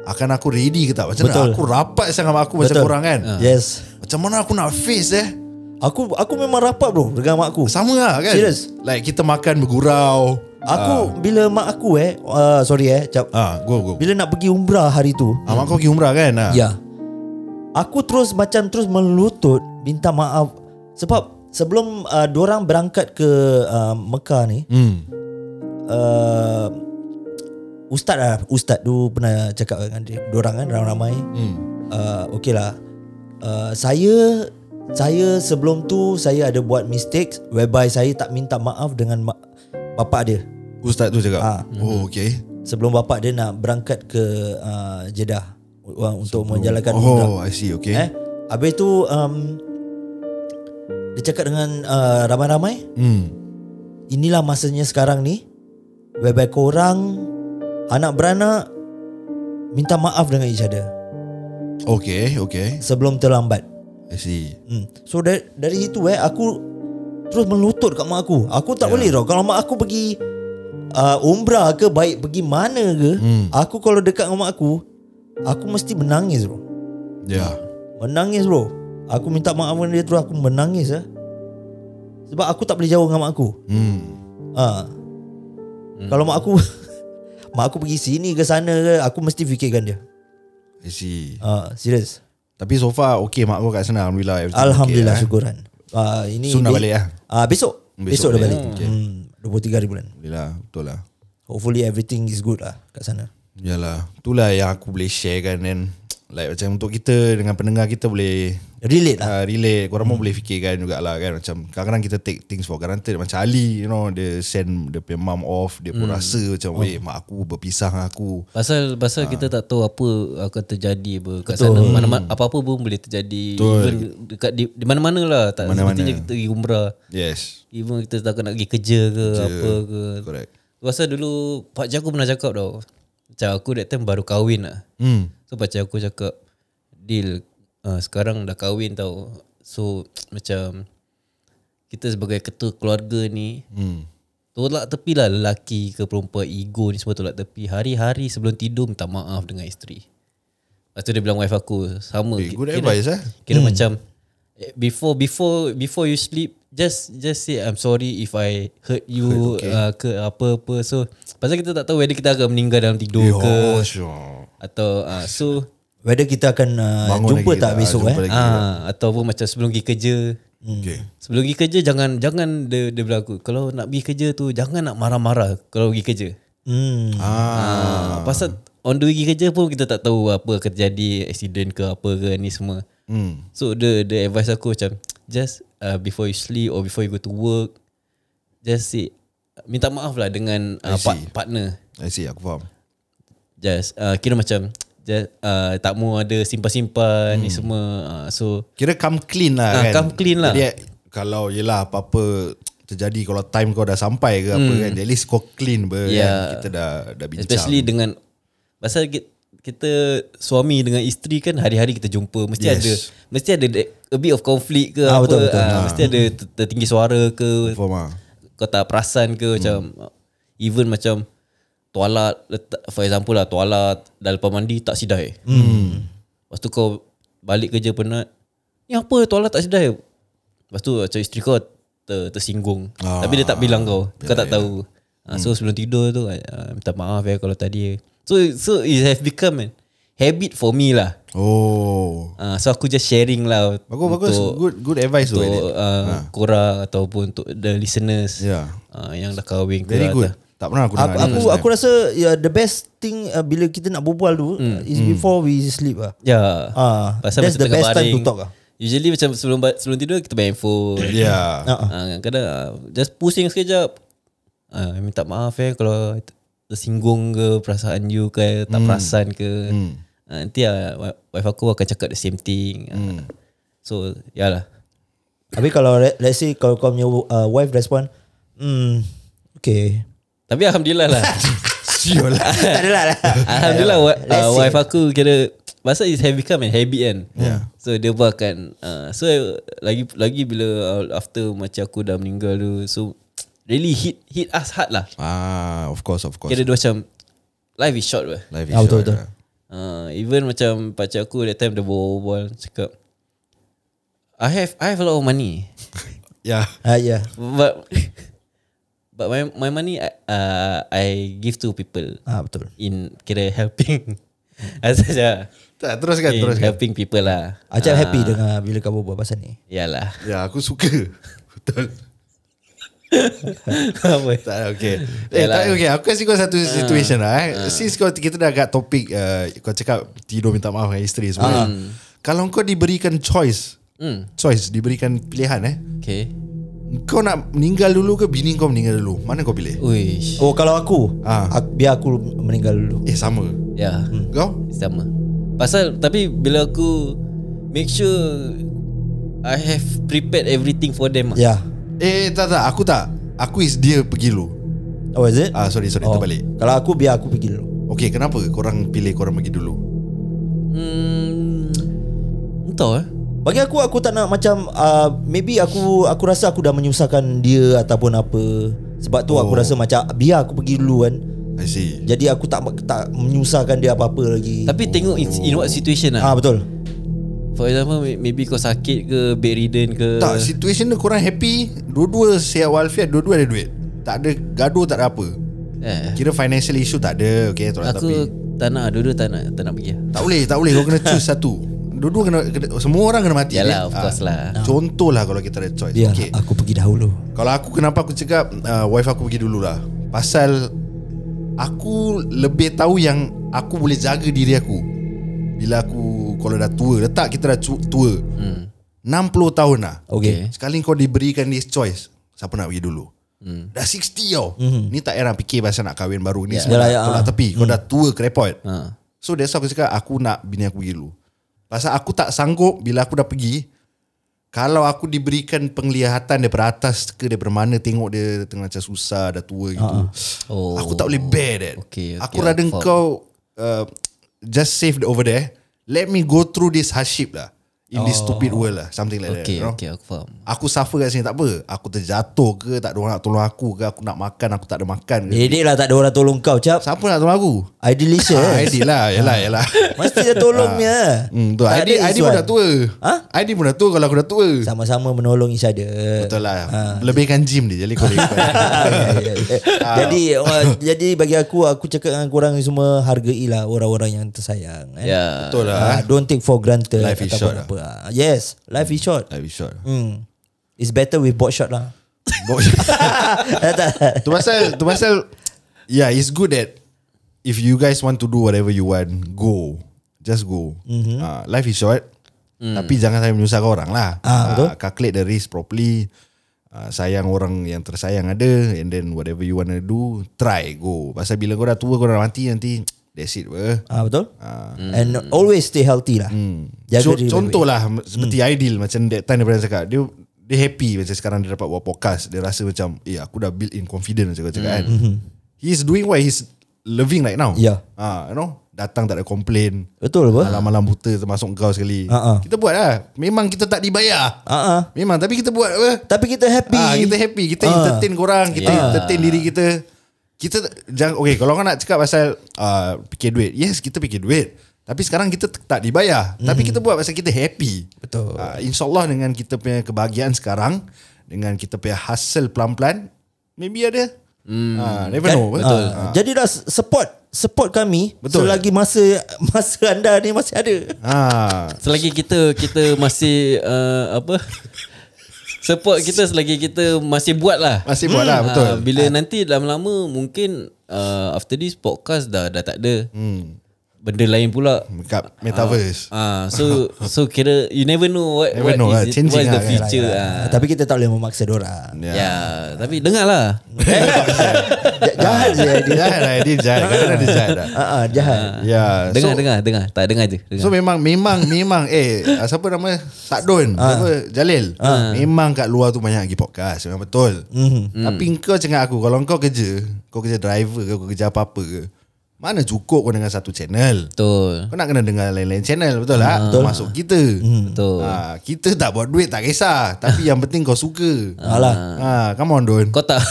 [SPEAKER 3] Akan aku ready ke tak Macam
[SPEAKER 5] Betul.
[SPEAKER 3] mana aku rapat sangat mak aku Macam
[SPEAKER 5] Betul. Ha.
[SPEAKER 3] korang kan
[SPEAKER 5] Yes
[SPEAKER 3] macam mana aku nak face eh
[SPEAKER 5] Aku aku memang rapat bro Dengan mak aku
[SPEAKER 3] Sama lah kan
[SPEAKER 5] Serious?
[SPEAKER 3] Like kita makan bergurau
[SPEAKER 5] Aku bila mak aku eh uh, Sorry eh cap,
[SPEAKER 3] Ah, go go
[SPEAKER 5] Bila nak pergi umrah hari tu
[SPEAKER 3] ah, Mak kau pergi umrah kan ah.
[SPEAKER 5] Ya Aku terus macam terus melutut Minta maaf Sebab sebelum uh, Diorang berangkat ke uh, Mekah ni
[SPEAKER 3] hmm.
[SPEAKER 5] uh, Ustaz lah Ustaz tu pernah cakap dengan dia Diorang kan ramai-ramai
[SPEAKER 3] hmm.
[SPEAKER 5] uh, Okay lah uh, Saya Saya sebelum tu Saya ada buat mistakes Whereby saya tak minta maaf dengan ma- Bapak dia
[SPEAKER 3] Ustaz tu cakap
[SPEAKER 5] Ah.
[SPEAKER 3] Oh okay
[SPEAKER 5] Sebelum bapak dia nak berangkat ke uh, Jeddah uh, Untuk menjalankan umrah
[SPEAKER 3] Oh I see okay
[SPEAKER 5] Eh, habis tu um, dia cakap dengan uh, ramai-ramai,
[SPEAKER 3] hmm.
[SPEAKER 5] inilah masanya sekarang ni. Whereby korang anak beranak minta maaf dengan each other
[SPEAKER 3] Okay okay
[SPEAKER 5] sebelum terlambat.
[SPEAKER 3] I see
[SPEAKER 5] Hmm. So dari, dari situ eh aku terus melutut kat mak aku. Aku tak yeah. boleh tau kalau mak aku pergi uh, umrah ke baik pergi mana ke,
[SPEAKER 3] Hmm.
[SPEAKER 5] aku kalau dekat dengan mak aku, aku mesti menangis bro.
[SPEAKER 3] Ya yeah.
[SPEAKER 5] Menangis bro Aku minta maaf dengan dia terus Aku menangis lah Sebab aku tak boleh jauh dengan mak aku
[SPEAKER 3] hmm.
[SPEAKER 5] ha. hmm. Kalau mak aku *laughs* Mak aku pergi sini ke sana ke Aku mesti fikirkan dia
[SPEAKER 3] I see
[SPEAKER 5] ha, Serius
[SPEAKER 3] Tapi so far okay mak kau kat sana Alhamdulillah everything
[SPEAKER 5] Alhamdulillah
[SPEAKER 3] okay, eh.
[SPEAKER 5] syukuran ha, ini
[SPEAKER 3] So, nak
[SPEAKER 5] be-
[SPEAKER 3] balik lah?
[SPEAKER 5] ha, Besok
[SPEAKER 3] Besok
[SPEAKER 5] Besok, dah
[SPEAKER 3] balik.
[SPEAKER 5] balik
[SPEAKER 3] Okay.
[SPEAKER 5] hmm, 23 hari bulan
[SPEAKER 3] Alhamdulillah betul lah
[SPEAKER 5] Hopefully everything is good lah Kat sana
[SPEAKER 3] Yalah Itulah yang aku boleh share kan Then Like macam untuk kita Dengan pendengar kita boleh
[SPEAKER 5] Relate lah
[SPEAKER 3] uh, relate korang pun boleh fikirkan jugalah kan macam kadang-kadang kita take things for granted macam Ali you know dia send dia punya mum off dia
[SPEAKER 5] Hmm.
[SPEAKER 3] pun rasa macam
[SPEAKER 5] Oh.
[SPEAKER 3] weh mak aku berpisah dengan aku
[SPEAKER 2] Pasal
[SPEAKER 3] Ah.
[SPEAKER 2] pasal kita tak tahu apa akan terjadi apa kat sana
[SPEAKER 3] Hmm.
[SPEAKER 2] mana, mana apa-apa pun boleh terjadi Betul. even dekat di, di mana-mana lah tak
[SPEAKER 3] Mana-mana.
[SPEAKER 2] sepertinya kita pergi umrah
[SPEAKER 3] yes
[SPEAKER 2] even kita tak nak pergi kerja ke kerja. apa ke
[SPEAKER 3] correct
[SPEAKER 2] Pasal dulu Pak Jago pernah cakap tau Macam aku that time baru kahwin lah
[SPEAKER 3] Hmm.
[SPEAKER 2] So pacar aku cakap Deal uh, Sekarang dah kahwin tau So macam Kita sebagai ketua keluarga ni
[SPEAKER 3] Hmm.
[SPEAKER 2] Tolak tepi lah lelaki ke perempuan Ego ni semua tolak tepi Hari-hari sebelum tidur minta maaf dengan isteri Lepas tu dia bilang wife aku Sama
[SPEAKER 3] Eh, good advice, eh?
[SPEAKER 2] Kira hmm. macam eh, Before before before you sleep Just just say I'm sorry if I hurt you okay. uh, ke apa-apa So Pasal kita tak tahu whether kita akan meninggal dalam tidur
[SPEAKER 3] Yo,
[SPEAKER 2] ke
[SPEAKER 3] Oh, sure.
[SPEAKER 2] Atau uh, so
[SPEAKER 5] Whether kita akan uh,
[SPEAKER 3] Bangun
[SPEAKER 5] jumpa
[SPEAKER 3] lagi
[SPEAKER 5] tak
[SPEAKER 3] kita, lah,
[SPEAKER 5] besok
[SPEAKER 3] jumpa
[SPEAKER 5] eh?
[SPEAKER 3] lagi. Hmm.
[SPEAKER 2] Ah, ataupun macam sebelum pergi kerja.
[SPEAKER 3] Okay.
[SPEAKER 2] Sebelum pergi kerja jangan jangan dia, dia bilang aku kalau nak pergi kerja tu jangan nak marah-marah kalau pergi kerja.
[SPEAKER 5] Hmm.
[SPEAKER 2] Ah. pasal on the way pergi kerja pun kita tak tahu apa akan terjadi accident ke apa ke ni semua.
[SPEAKER 3] Hmm.
[SPEAKER 2] So the the advice aku macam just uh, before you sleep or before you go to work just say minta maaf lah dengan uh,
[SPEAKER 3] I see.
[SPEAKER 2] part, partner.
[SPEAKER 3] I see, aku faham.
[SPEAKER 2] Just uh, kira macam just, uh, tak mau ada simpan-simpan
[SPEAKER 3] Hmm.
[SPEAKER 2] ni semua. Uh, so
[SPEAKER 3] Kira come clean lah
[SPEAKER 2] Ah,
[SPEAKER 3] kan
[SPEAKER 2] come clean lah.
[SPEAKER 3] Jadi kalau yelah apa-apa terjadi Kalau time kau dah sampai ke apa kan At least kau clean ber
[SPEAKER 2] Hmm. Yeah.
[SPEAKER 3] kan? Kita dah, dah bincang
[SPEAKER 2] Especially dengan pasal kita, kita suami dengan isteri kan hari-hari kita jumpa mesti
[SPEAKER 3] Yes.
[SPEAKER 2] yes. ada mesti ada de- a bit of conflict ke
[SPEAKER 5] Ah,
[SPEAKER 2] apa
[SPEAKER 5] betul, betul.
[SPEAKER 2] ah, mesti ada ter- tertinggi suara ke
[SPEAKER 3] Faham lah
[SPEAKER 2] kau tak perasan
[SPEAKER 3] Hmm.
[SPEAKER 2] ke macam even macam tuala letak for example lah tuala dalam lepas mandi tak sidai. Hmm. Lepas tu kau balik kerja penat. Ni apa tuala tak sidai? Lepas tu macam isteri kau ter, tersinggung.
[SPEAKER 3] Ah. ya. Hmm.
[SPEAKER 2] Tapi dia tak bilang kau. Kau tak tahu. Ah, so sebelum tidur tu ah, minta maaf ya kalau tadi. So so it has become an habit for me lah.
[SPEAKER 3] Oh
[SPEAKER 2] Ah, so aku just sharing lah
[SPEAKER 3] Bagus bagus Good good Ah. advice tu
[SPEAKER 2] untuk
[SPEAKER 3] Aidil.
[SPEAKER 2] uh, korang ataupun untuk the listeners
[SPEAKER 3] Yeah.
[SPEAKER 2] uh, yang dah kahwin ke
[SPEAKER 3] Very good
[SPEAKER 2] atau-
[SPEAKER 3] Tak pernah aku dengar
[SPEAKER 5] Aku
[SPEAKER 3] ni
[SPEAKER 5] aku,
[SPEAKER 3] Ah, first time.
[SPEAKER 5] aku rasa yeah, the best thing uh, bila kita nak berbual tu
[SPEAKER 3] Hmm.
[SPEAKER 5] mm. is before we sleep ah.
[SPEAKER 2] Ya.
[SPEAKER 5] Ah, that's
[SPEAKER 2] macam
[SPEAKER 5] the
[SPEAKER 2] tengah
[SPEAKER 5] best time to talk ah.
[SPEAKER 2] Usually macam sebelum ba- sebelum tidur kita main phone.
[SPEAKER 3] Yeah
[SPEAKER 2] Ah, kadang ah, just pusing sekejap. Ah, minta maaf eh kalau tersinggung ke perasaan you ke eh,
[SPEAKER 5] Hmm.
[SPEAKER 2] tak perasan ke. Ah, nanti ah, wi- wife aku akan cakap the same thing. Ah,
[SPEAKER 5] Hmm.
[SPEAKER 2] So, ya lah. yalah.
[SPEAKER 5] Habis kalau re- let's say kalau kau punya uh, wife respond, hmm okay.
[SPEAKER 3] *laughs*
[SPEAKER 2] Tapi alhamdulillah lah.
[SPEAKER 5] *laughs*
[SPEAKER 3] Sial lah
[SPEAKER 5] tak adalah lah.
[SPEAKER 2] alhamdulillah wa-
[SPEAKER 5] Let's
[SPEAKER 2] ah,
[SPEAKER 5] see.
[SPEAKER 2] wife aku kira masa it have become a habit kan. Yeah. So dia pun akan ah, so lagi lagi bila ah, after macam aku dah meninggal tu so really hit hit us hard lah.
[SPEAKER 3] Ah, Of course of course
[SPEAKER 2] Kira dia macam Life is short lah
[SPEAKER 3] Life is
[SPEAKER 5] Ah, betul,
[SPEAKER 3] short,
[SPEAKER 5] betul.
[SPEAKER 3] yeah.
[SPEAKER 2] uh, Even macam Pakcik aku that time Dia berbual Cakap I have I have a lot of money
[SPEAKER 3] Yeah *laughs*
[SPEAKER 5] Ah yeah.
[SPEAKER 2] But *laughs* But my my money I- uh, I give to people
[SPEAKER 5] Ah betul.
[SPEAKER 2] In Kira helping *laughs* Asal je
[SPEAKER 3] Tak teruskan
[SPEAKER 2] In
[SPEAKER 3] teruskan
[SPEAKER 2] Eh, helping people lah
[SPEAKER 5] Acap happy
[SPEAKER 3] Ah.
[SPEAKER 5] dengan ah, bila kau berbual pasal ni.
[SPEAKER 2] Yalah
[SPEAKER 3] Ya aku suka *laughs* Betul
[SPEAKER 2] *laughs* Apa
[SPEAKER 3] Tak
[SPEAKER 2] *laughs*
[SPEAKER 3] okay. Eh,
[SPEAKER 2] Yalah. Ah.
[SPEAKER 3] tak, okay. Aku kasi kau satu situation lah eh. Since kau kita dah agak topik uh, kau cakap tidur minta maaf dengan isteri semua. Uh. Kalau kau diberikan choice,
[SPEAKER 2] Ah. Hmm.
[SPEAKER 3] choice diberikan pilihan eh.
[SPEAKER 2] Okay
[SPEAKER 3] Kau nak meninggal dulu ke bini kau meninggal dulu? Mana kau pilih?
[SPEAKER 2] Uish
[SPEAKER 5] Oh kalau aku,
[SPEAKER 3] Ah.
[SPEAKER 5] aku biar aku meninggal dulu.
[SPEAKER 3] Eh sama.
[SPEAKER 2] Ya yeah.
[SPEAKER 3] Kau?
[SPEAKER 2] Sama Pasal Tapi bila aku Make sure I have prepared everything for them lah.
[SPEAKER 5] Yeah.
[SPEAKER 3] Eh tak tak aku tak. Aku is dia pergi dulu.
[SPEAKER 5] Oh is it?
[SPEAKER 3] Ah sorry sorry
[SPEAKER 5] oh.
[SPEAKER 3] terbalik.
[SPEAKER 5] Kalau aku biar aku pergi dulu.
[SPEAKER 3] Okay kenapa korang pilih korang pergi dulu?
[SPEAKER 2] Hmm, entah eh.
[SPEAKER 5] Bagi aku aku tak nak macam uh, maybe aku aku rasa aku dah menyusahkan dia ataupun apa. Sebab tu oh.
[SPEAKER 3] Oh.
[SPEAKER 5] aku rasa macam biar aku pergi dulu kan.
[SPEAKER 3] I see.
[SPEAKER 5] Jadi aku tak tak menyusahkan dia apa-apa lagi.
[SPEAKER 2] Tapi tengok in, in what situation
[SPEAKER 5] ah
[SPEAKER 2] lah.
[SPEAKER 5] betul.
[SPEAKER 2] For example, may- maybe kau sakit ke, bedridden ke.
[SPEAKER 3] Tak situation dia korang happy, dua-dua sihat walafiat, dua-dua ada duit. Tak ada gaduh, tak ada apa.
[SPEAKER 2] Eh,
[SPEAKER 3] Kira financial issue tak ada lah Okay tak
[SPEAKER 2] aku
[SPEAKER 3] tapi
[SPEAKER 2] tak nak, dulu tak nak, tak nak pergi lah.
[SPEAKER 3] Tak boleh tak boleh Kau kena choose satu Dua-dua kena, kena Semua orang kena mati kan?
[SPEAKER 2] Yalah,
[SPEAKER 3] Dia-
[SPEAKER 2] of course lah.
[SPEAKER 3] Contoh lah kalau kita ada choice
[SPEAKER 5] Biar
[SPEAKER 3] Okay
[SPEAKER 5] aku pergi dahulu.
[SPEAKER 3] Kalau aku kenapa aku cakap uh, Wife aku pergi dulu lah Pasal Aku lebih tahu yang Aku boleh jaga diri aku Bila aku Kalau dah tua Letak kita dah cu- tua hmm. 60 tahun lah
[SPEAKER 5] Okay.
[SPEAKER 3] Sekali kau diberikan this choice Siapa nak pergi dulu hmm. Dah 60 tau hmm. Ni tak payah nak fikir Pasal nak kahwin baru Ni yeah. semua
[SPEAKER 5] Yalah,
[SPEAKER 3] dah
[SPEAKER 5] ya,
[SPEAKER 3] tolak
[SPEAKER 5] ah.
[SPEAKER 3] tepi Kau dah tua kerepot
[SPEAKER 2] Ha.
[SPEAKER 3] So that's why aku cakap Aku nak bini aku pergi dulu Pasal aku tak sanggup Bila aku dah pergi Kalau aku diberikan penglihatan daripada atas ke daripada mana tengok dia tengah macam susah dah tua gitu.
[SPEAKER 2] Oh.
[SPEAKER 3] Oh. Aku tak boleh bear that.
[SPEAKER 2] Okay, okay,
[SPEAKER 3] aku rada
[SPEAKER 2] I faham.
[SPEAKER 3] kau uh, just save the over there. Let me go through this hardship lah. In this stupid world lah. Something like that.
[SPEAKER 2] Oh. Okay,
[SPEAKER 3] you know?
[SPEAKER 2] okay, aku faham.
[SPEAKER 3] Aku suffer kat sini tak apa. Aku terjatuh ke tak ada orang nak tolong aku ke aku nak makan aku tak ada makan ke.
[SPEAKER 5] Bedek lah tak ada orang tolong kau cap
[SPEAKER 3] Siapa nak tolong aku?
[SPEAKER 5] I delicious
[SPEAKER 3] Ah, Aidil lah Yalah yalah
[SPEAKER 5] Mesti dia tolongnya
[SPEAKER 3] Hmm, tu Aidil, Aidil pun dah tua
[SPEAKER 5] Ha?
[SPEAKER 3] Aidil pun dah tua Kalau aku dah tua
[SPEAKER 5] Sama-sama menolong each other
[SPEAKER 3] Betul lah Lebihkan gym dia Jadi kau
[SPEAKER 5] *laughs* jadi uh, jadi bagi aku aku cakap dengan korang ni semua hargailah orang-orang yang tersayang eh.
[SPEAKER 2] Ya.
[SPEAKER 3] Betul lah
[SPEAKER 5] Ah, don't take for granted
[SPEAKER 3] Life is
[SPEAKER 5] ataupun
[SPEAKER 3] short lah.
[SPEAKER 5] apa. Ah, Yes, life is short.
[SPEAKER 3] Habis shot
[SPEAKER 5] Hmm. It's better with board shot lah. Tak, tak.
[SPEAKER 3] *laughs* Tu pasal Tu pasal Yeah it's good that If you guys want to do Whatever you want Go Just go
[SPEAKER 5] Mhm.
[SPEAKER 3] Ah, Life is short Tapi jangan sampai menyusahkan orang lah
[SPEAKER 5] Ah, betul.
[SPEAKER 3] Ah, Calculate the risk properly Ah, Sayang orang yang tersayang ada And then whatever you want to do Try go Pasal bila kau dah tua Kau dah mati nanti That's it apa
[SPEAKER 5] Ah betul? And always stay healthy lah. Jaga
[SPEAKER 3] Co-
[SPEAKER 5] diri
[SPEAKER 3] Hmm. contoh
[SPEAKER 5] baik-baik. Hmm.
[SPEAKER 3] lah Seperti Aidil Macam that time daripada cakap Dia dia happy Macam sekarang dia dapat buat podcast Dia rasa macam Eh aku dah build in confidence Macam kau
[SPEAKER 5] Hmm.
[SPEAKER 3] cakap kan He's doing what he's Loving right now
[SPEAKER 5] Yeah.
[SPEAKER 3] ha, You know Datang tak ada komplain
[SPEAKER 5] Betul apa?
[SPEAKER 3] Malam-malam buta termasuk kau sekali
[SPEAKER 5] Ha, ha.
[SPEAKER 3] Kita buat lah Memang kita tak dibayar
[SPEAKER 5] Ah ah.
[SPEAKER 3] Memang tapi kita buat apa
[SPEAKER 5] Tapi kita happy.
[SPEAKER 3] Ah, kita happy, kita
[SPEAKER 5] Ah.
[SPEAKER 3] entertain korang, kita entertain diri kita. Kita t- jangan okay, kalau kau nak cakap pasal uh, fikir duit. Yes, kita fikir duit. Tapi sekarang kita t- tak dibayar. Tapi kita buat pasal kita happy.
[SPEAKER 5] Betul.
[SPEAKER 3] Uh, InsyaAllah dengan kita punya kebahagiaan sekarang, dengan kita punya hustle pelan-pelan, maybe ada. Hmm. Uh, never know. Betul.
[SPEAKER 5] Ah, Jadi dah support support kami
[SPEAKER 3] Betul.
[SPEAKER 5] selagi masa masa anda ni masih ada.
[SPEAKER 3] Ah.
[SPEAKER 2] Selagi kita kita masih uh, apa support kita selagi kita masih buat lah.
[SPEAKER 3] Masih buat lah, betul.
[SPEAKER 2] Ah, bila nanti lama-lama mungkin uh, after this podcast dah dah tak ada. Hmm. Benda lain pula.
[SPEAKER 3] Kat metaverse.
[SPEAKER 2] Ah, so so kira you never know what
[SPEAKER 3] Never
[SPEAKER 2] what
[SPEAKER 3] know lah,
[SPEAKER 2] is it, what
[SPEAKER 3] changing
[SPEAKER 2] is the
[SPEAKER 3] lah kan.
[SPEAKER 2] future.
[SPEAKER 5] Ah,
[SPEAKER 2] Ah.
[SPEAKER 5] Tapi kita tak boleh memaksa dorang.
[SPEAKER 2] Ya, tapi dengar lah.
[SPEAKER 3] Ya,
[SPEAKER 2] *laughs*
[SPEAKER 5] J- jahat je dia.
[SPEAKER 3] Jahat lah, dia jahat. Kadang-kadang dia jahat lah.
[SPEAKER 5] Ah ah, jahat.
[SPEAKER 3] Ya,
[SPEAKER 2] Dengar
[SPEAKER 3] so-
[SPEAKER 2] dengar dengar. Tak dengar je.
[SPEAKER 3] So
[SPEAKER 2] Dengar.
[SPEAKER 3] memang memang memang eh ah, siapa nama Sakdon ha. siapa Jalil ha. memang kat luar tu banyak lagi podcast memang betul. Mm-hmm. Tapi kau cakap aku kalau kau kerja, kau kerja driver ke kau kerja apa-apa ke, mana cukup kau dengan satu channel.
[SPEAKER 2] Betul.
[SPEAKER 3] Kau nak kena dengar lain-lain channel betul lah ha. Masuk kita
[SPEAKER 2] Betul.
[SPEAKER 3] ha, Kita tak buat duit tak kisah Tapi yang penting kau suka
[SPEAKER 5] Alah.
[SPEAKER 3] ha, Come on Don
[SPEAKER 2] Kau tak *laughs*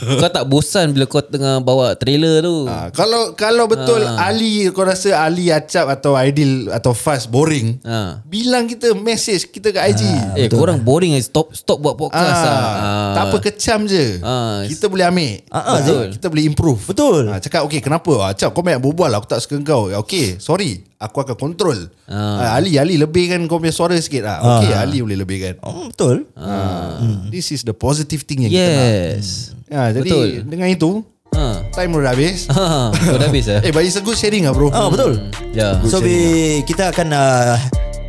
[SPEAKER 2] Kau tak bosan bila kau tengah bawa trailer tu.
[SPEAKER 3] Ah, kalau kalau betul Ali kau rasa Ali Acap atau Aidil atau Fast boring,
[SPEAKER 2] Ah.
[SPEAKER 3] bilang kita message kita kat IG.
[SPEAKER 2] Eh betul. korang boring eh Stop stop buat
[SPEAKER 3] Ah,
[SPEAKER 2] podcast ah. ah.
[SPEAKER 3] tak apa kecam je.
[SPEAKER 2] Ah.
[SPEAKER 3] Kita boleh ambil.
[SPEAKER 5] Ah, ah,
[SPEAKER 3] Betul. Kita boleh improve.
[SPEAKER 5] Betul.
[SPEAKER 3] Ah, cakap okey kenapa? Ah, Acap kau banyak berbual aku tak suka kau. Okey, sorry. Aku akan kontrol. Ah. Ali Ali lebihkan kau punya suara sikit ah. Okey, Ali boleh lebihkan.
[SPEAKER 5] Oh, betul.
[SPEAKER 3] Ah. This is the positive thing yang kita nak.
[SPEAKER 2] Yes.
[SPEAKER 3] Ah, jadi
[SPEAKER 2] Betul.
[SPEAKER 3] dengan itu
[SPEAKER 2] Ha.
[SPEAKER 3] time dah
[SPEAKER 2] *laughs*
[SPEAKER 3] habis.
[SPEAKER 2] Ha. Kau dah habis eh?
[SPEAKER 3] eh, but it's a good sharing ah bro.
[SPEAKER 5] Ah betul.
[SPEAKER 2] Ya.
[SPEAKER 5] So we kita akan uh,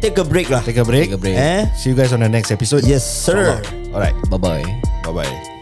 [SPEAKER 5] take a break lah.
[SPEAKER 3] Take a break.
[SPEAKER 2] Take a break.
[SPEAKER 5] Eh?
[SPEAKER 3] See you guys on the next episode.
[SPEAKER 5] Yes sir.
[SPEAKER 3] Alright.
[SPEAKER 2] Bye bye.
[SPEAKER 3] Bye bye.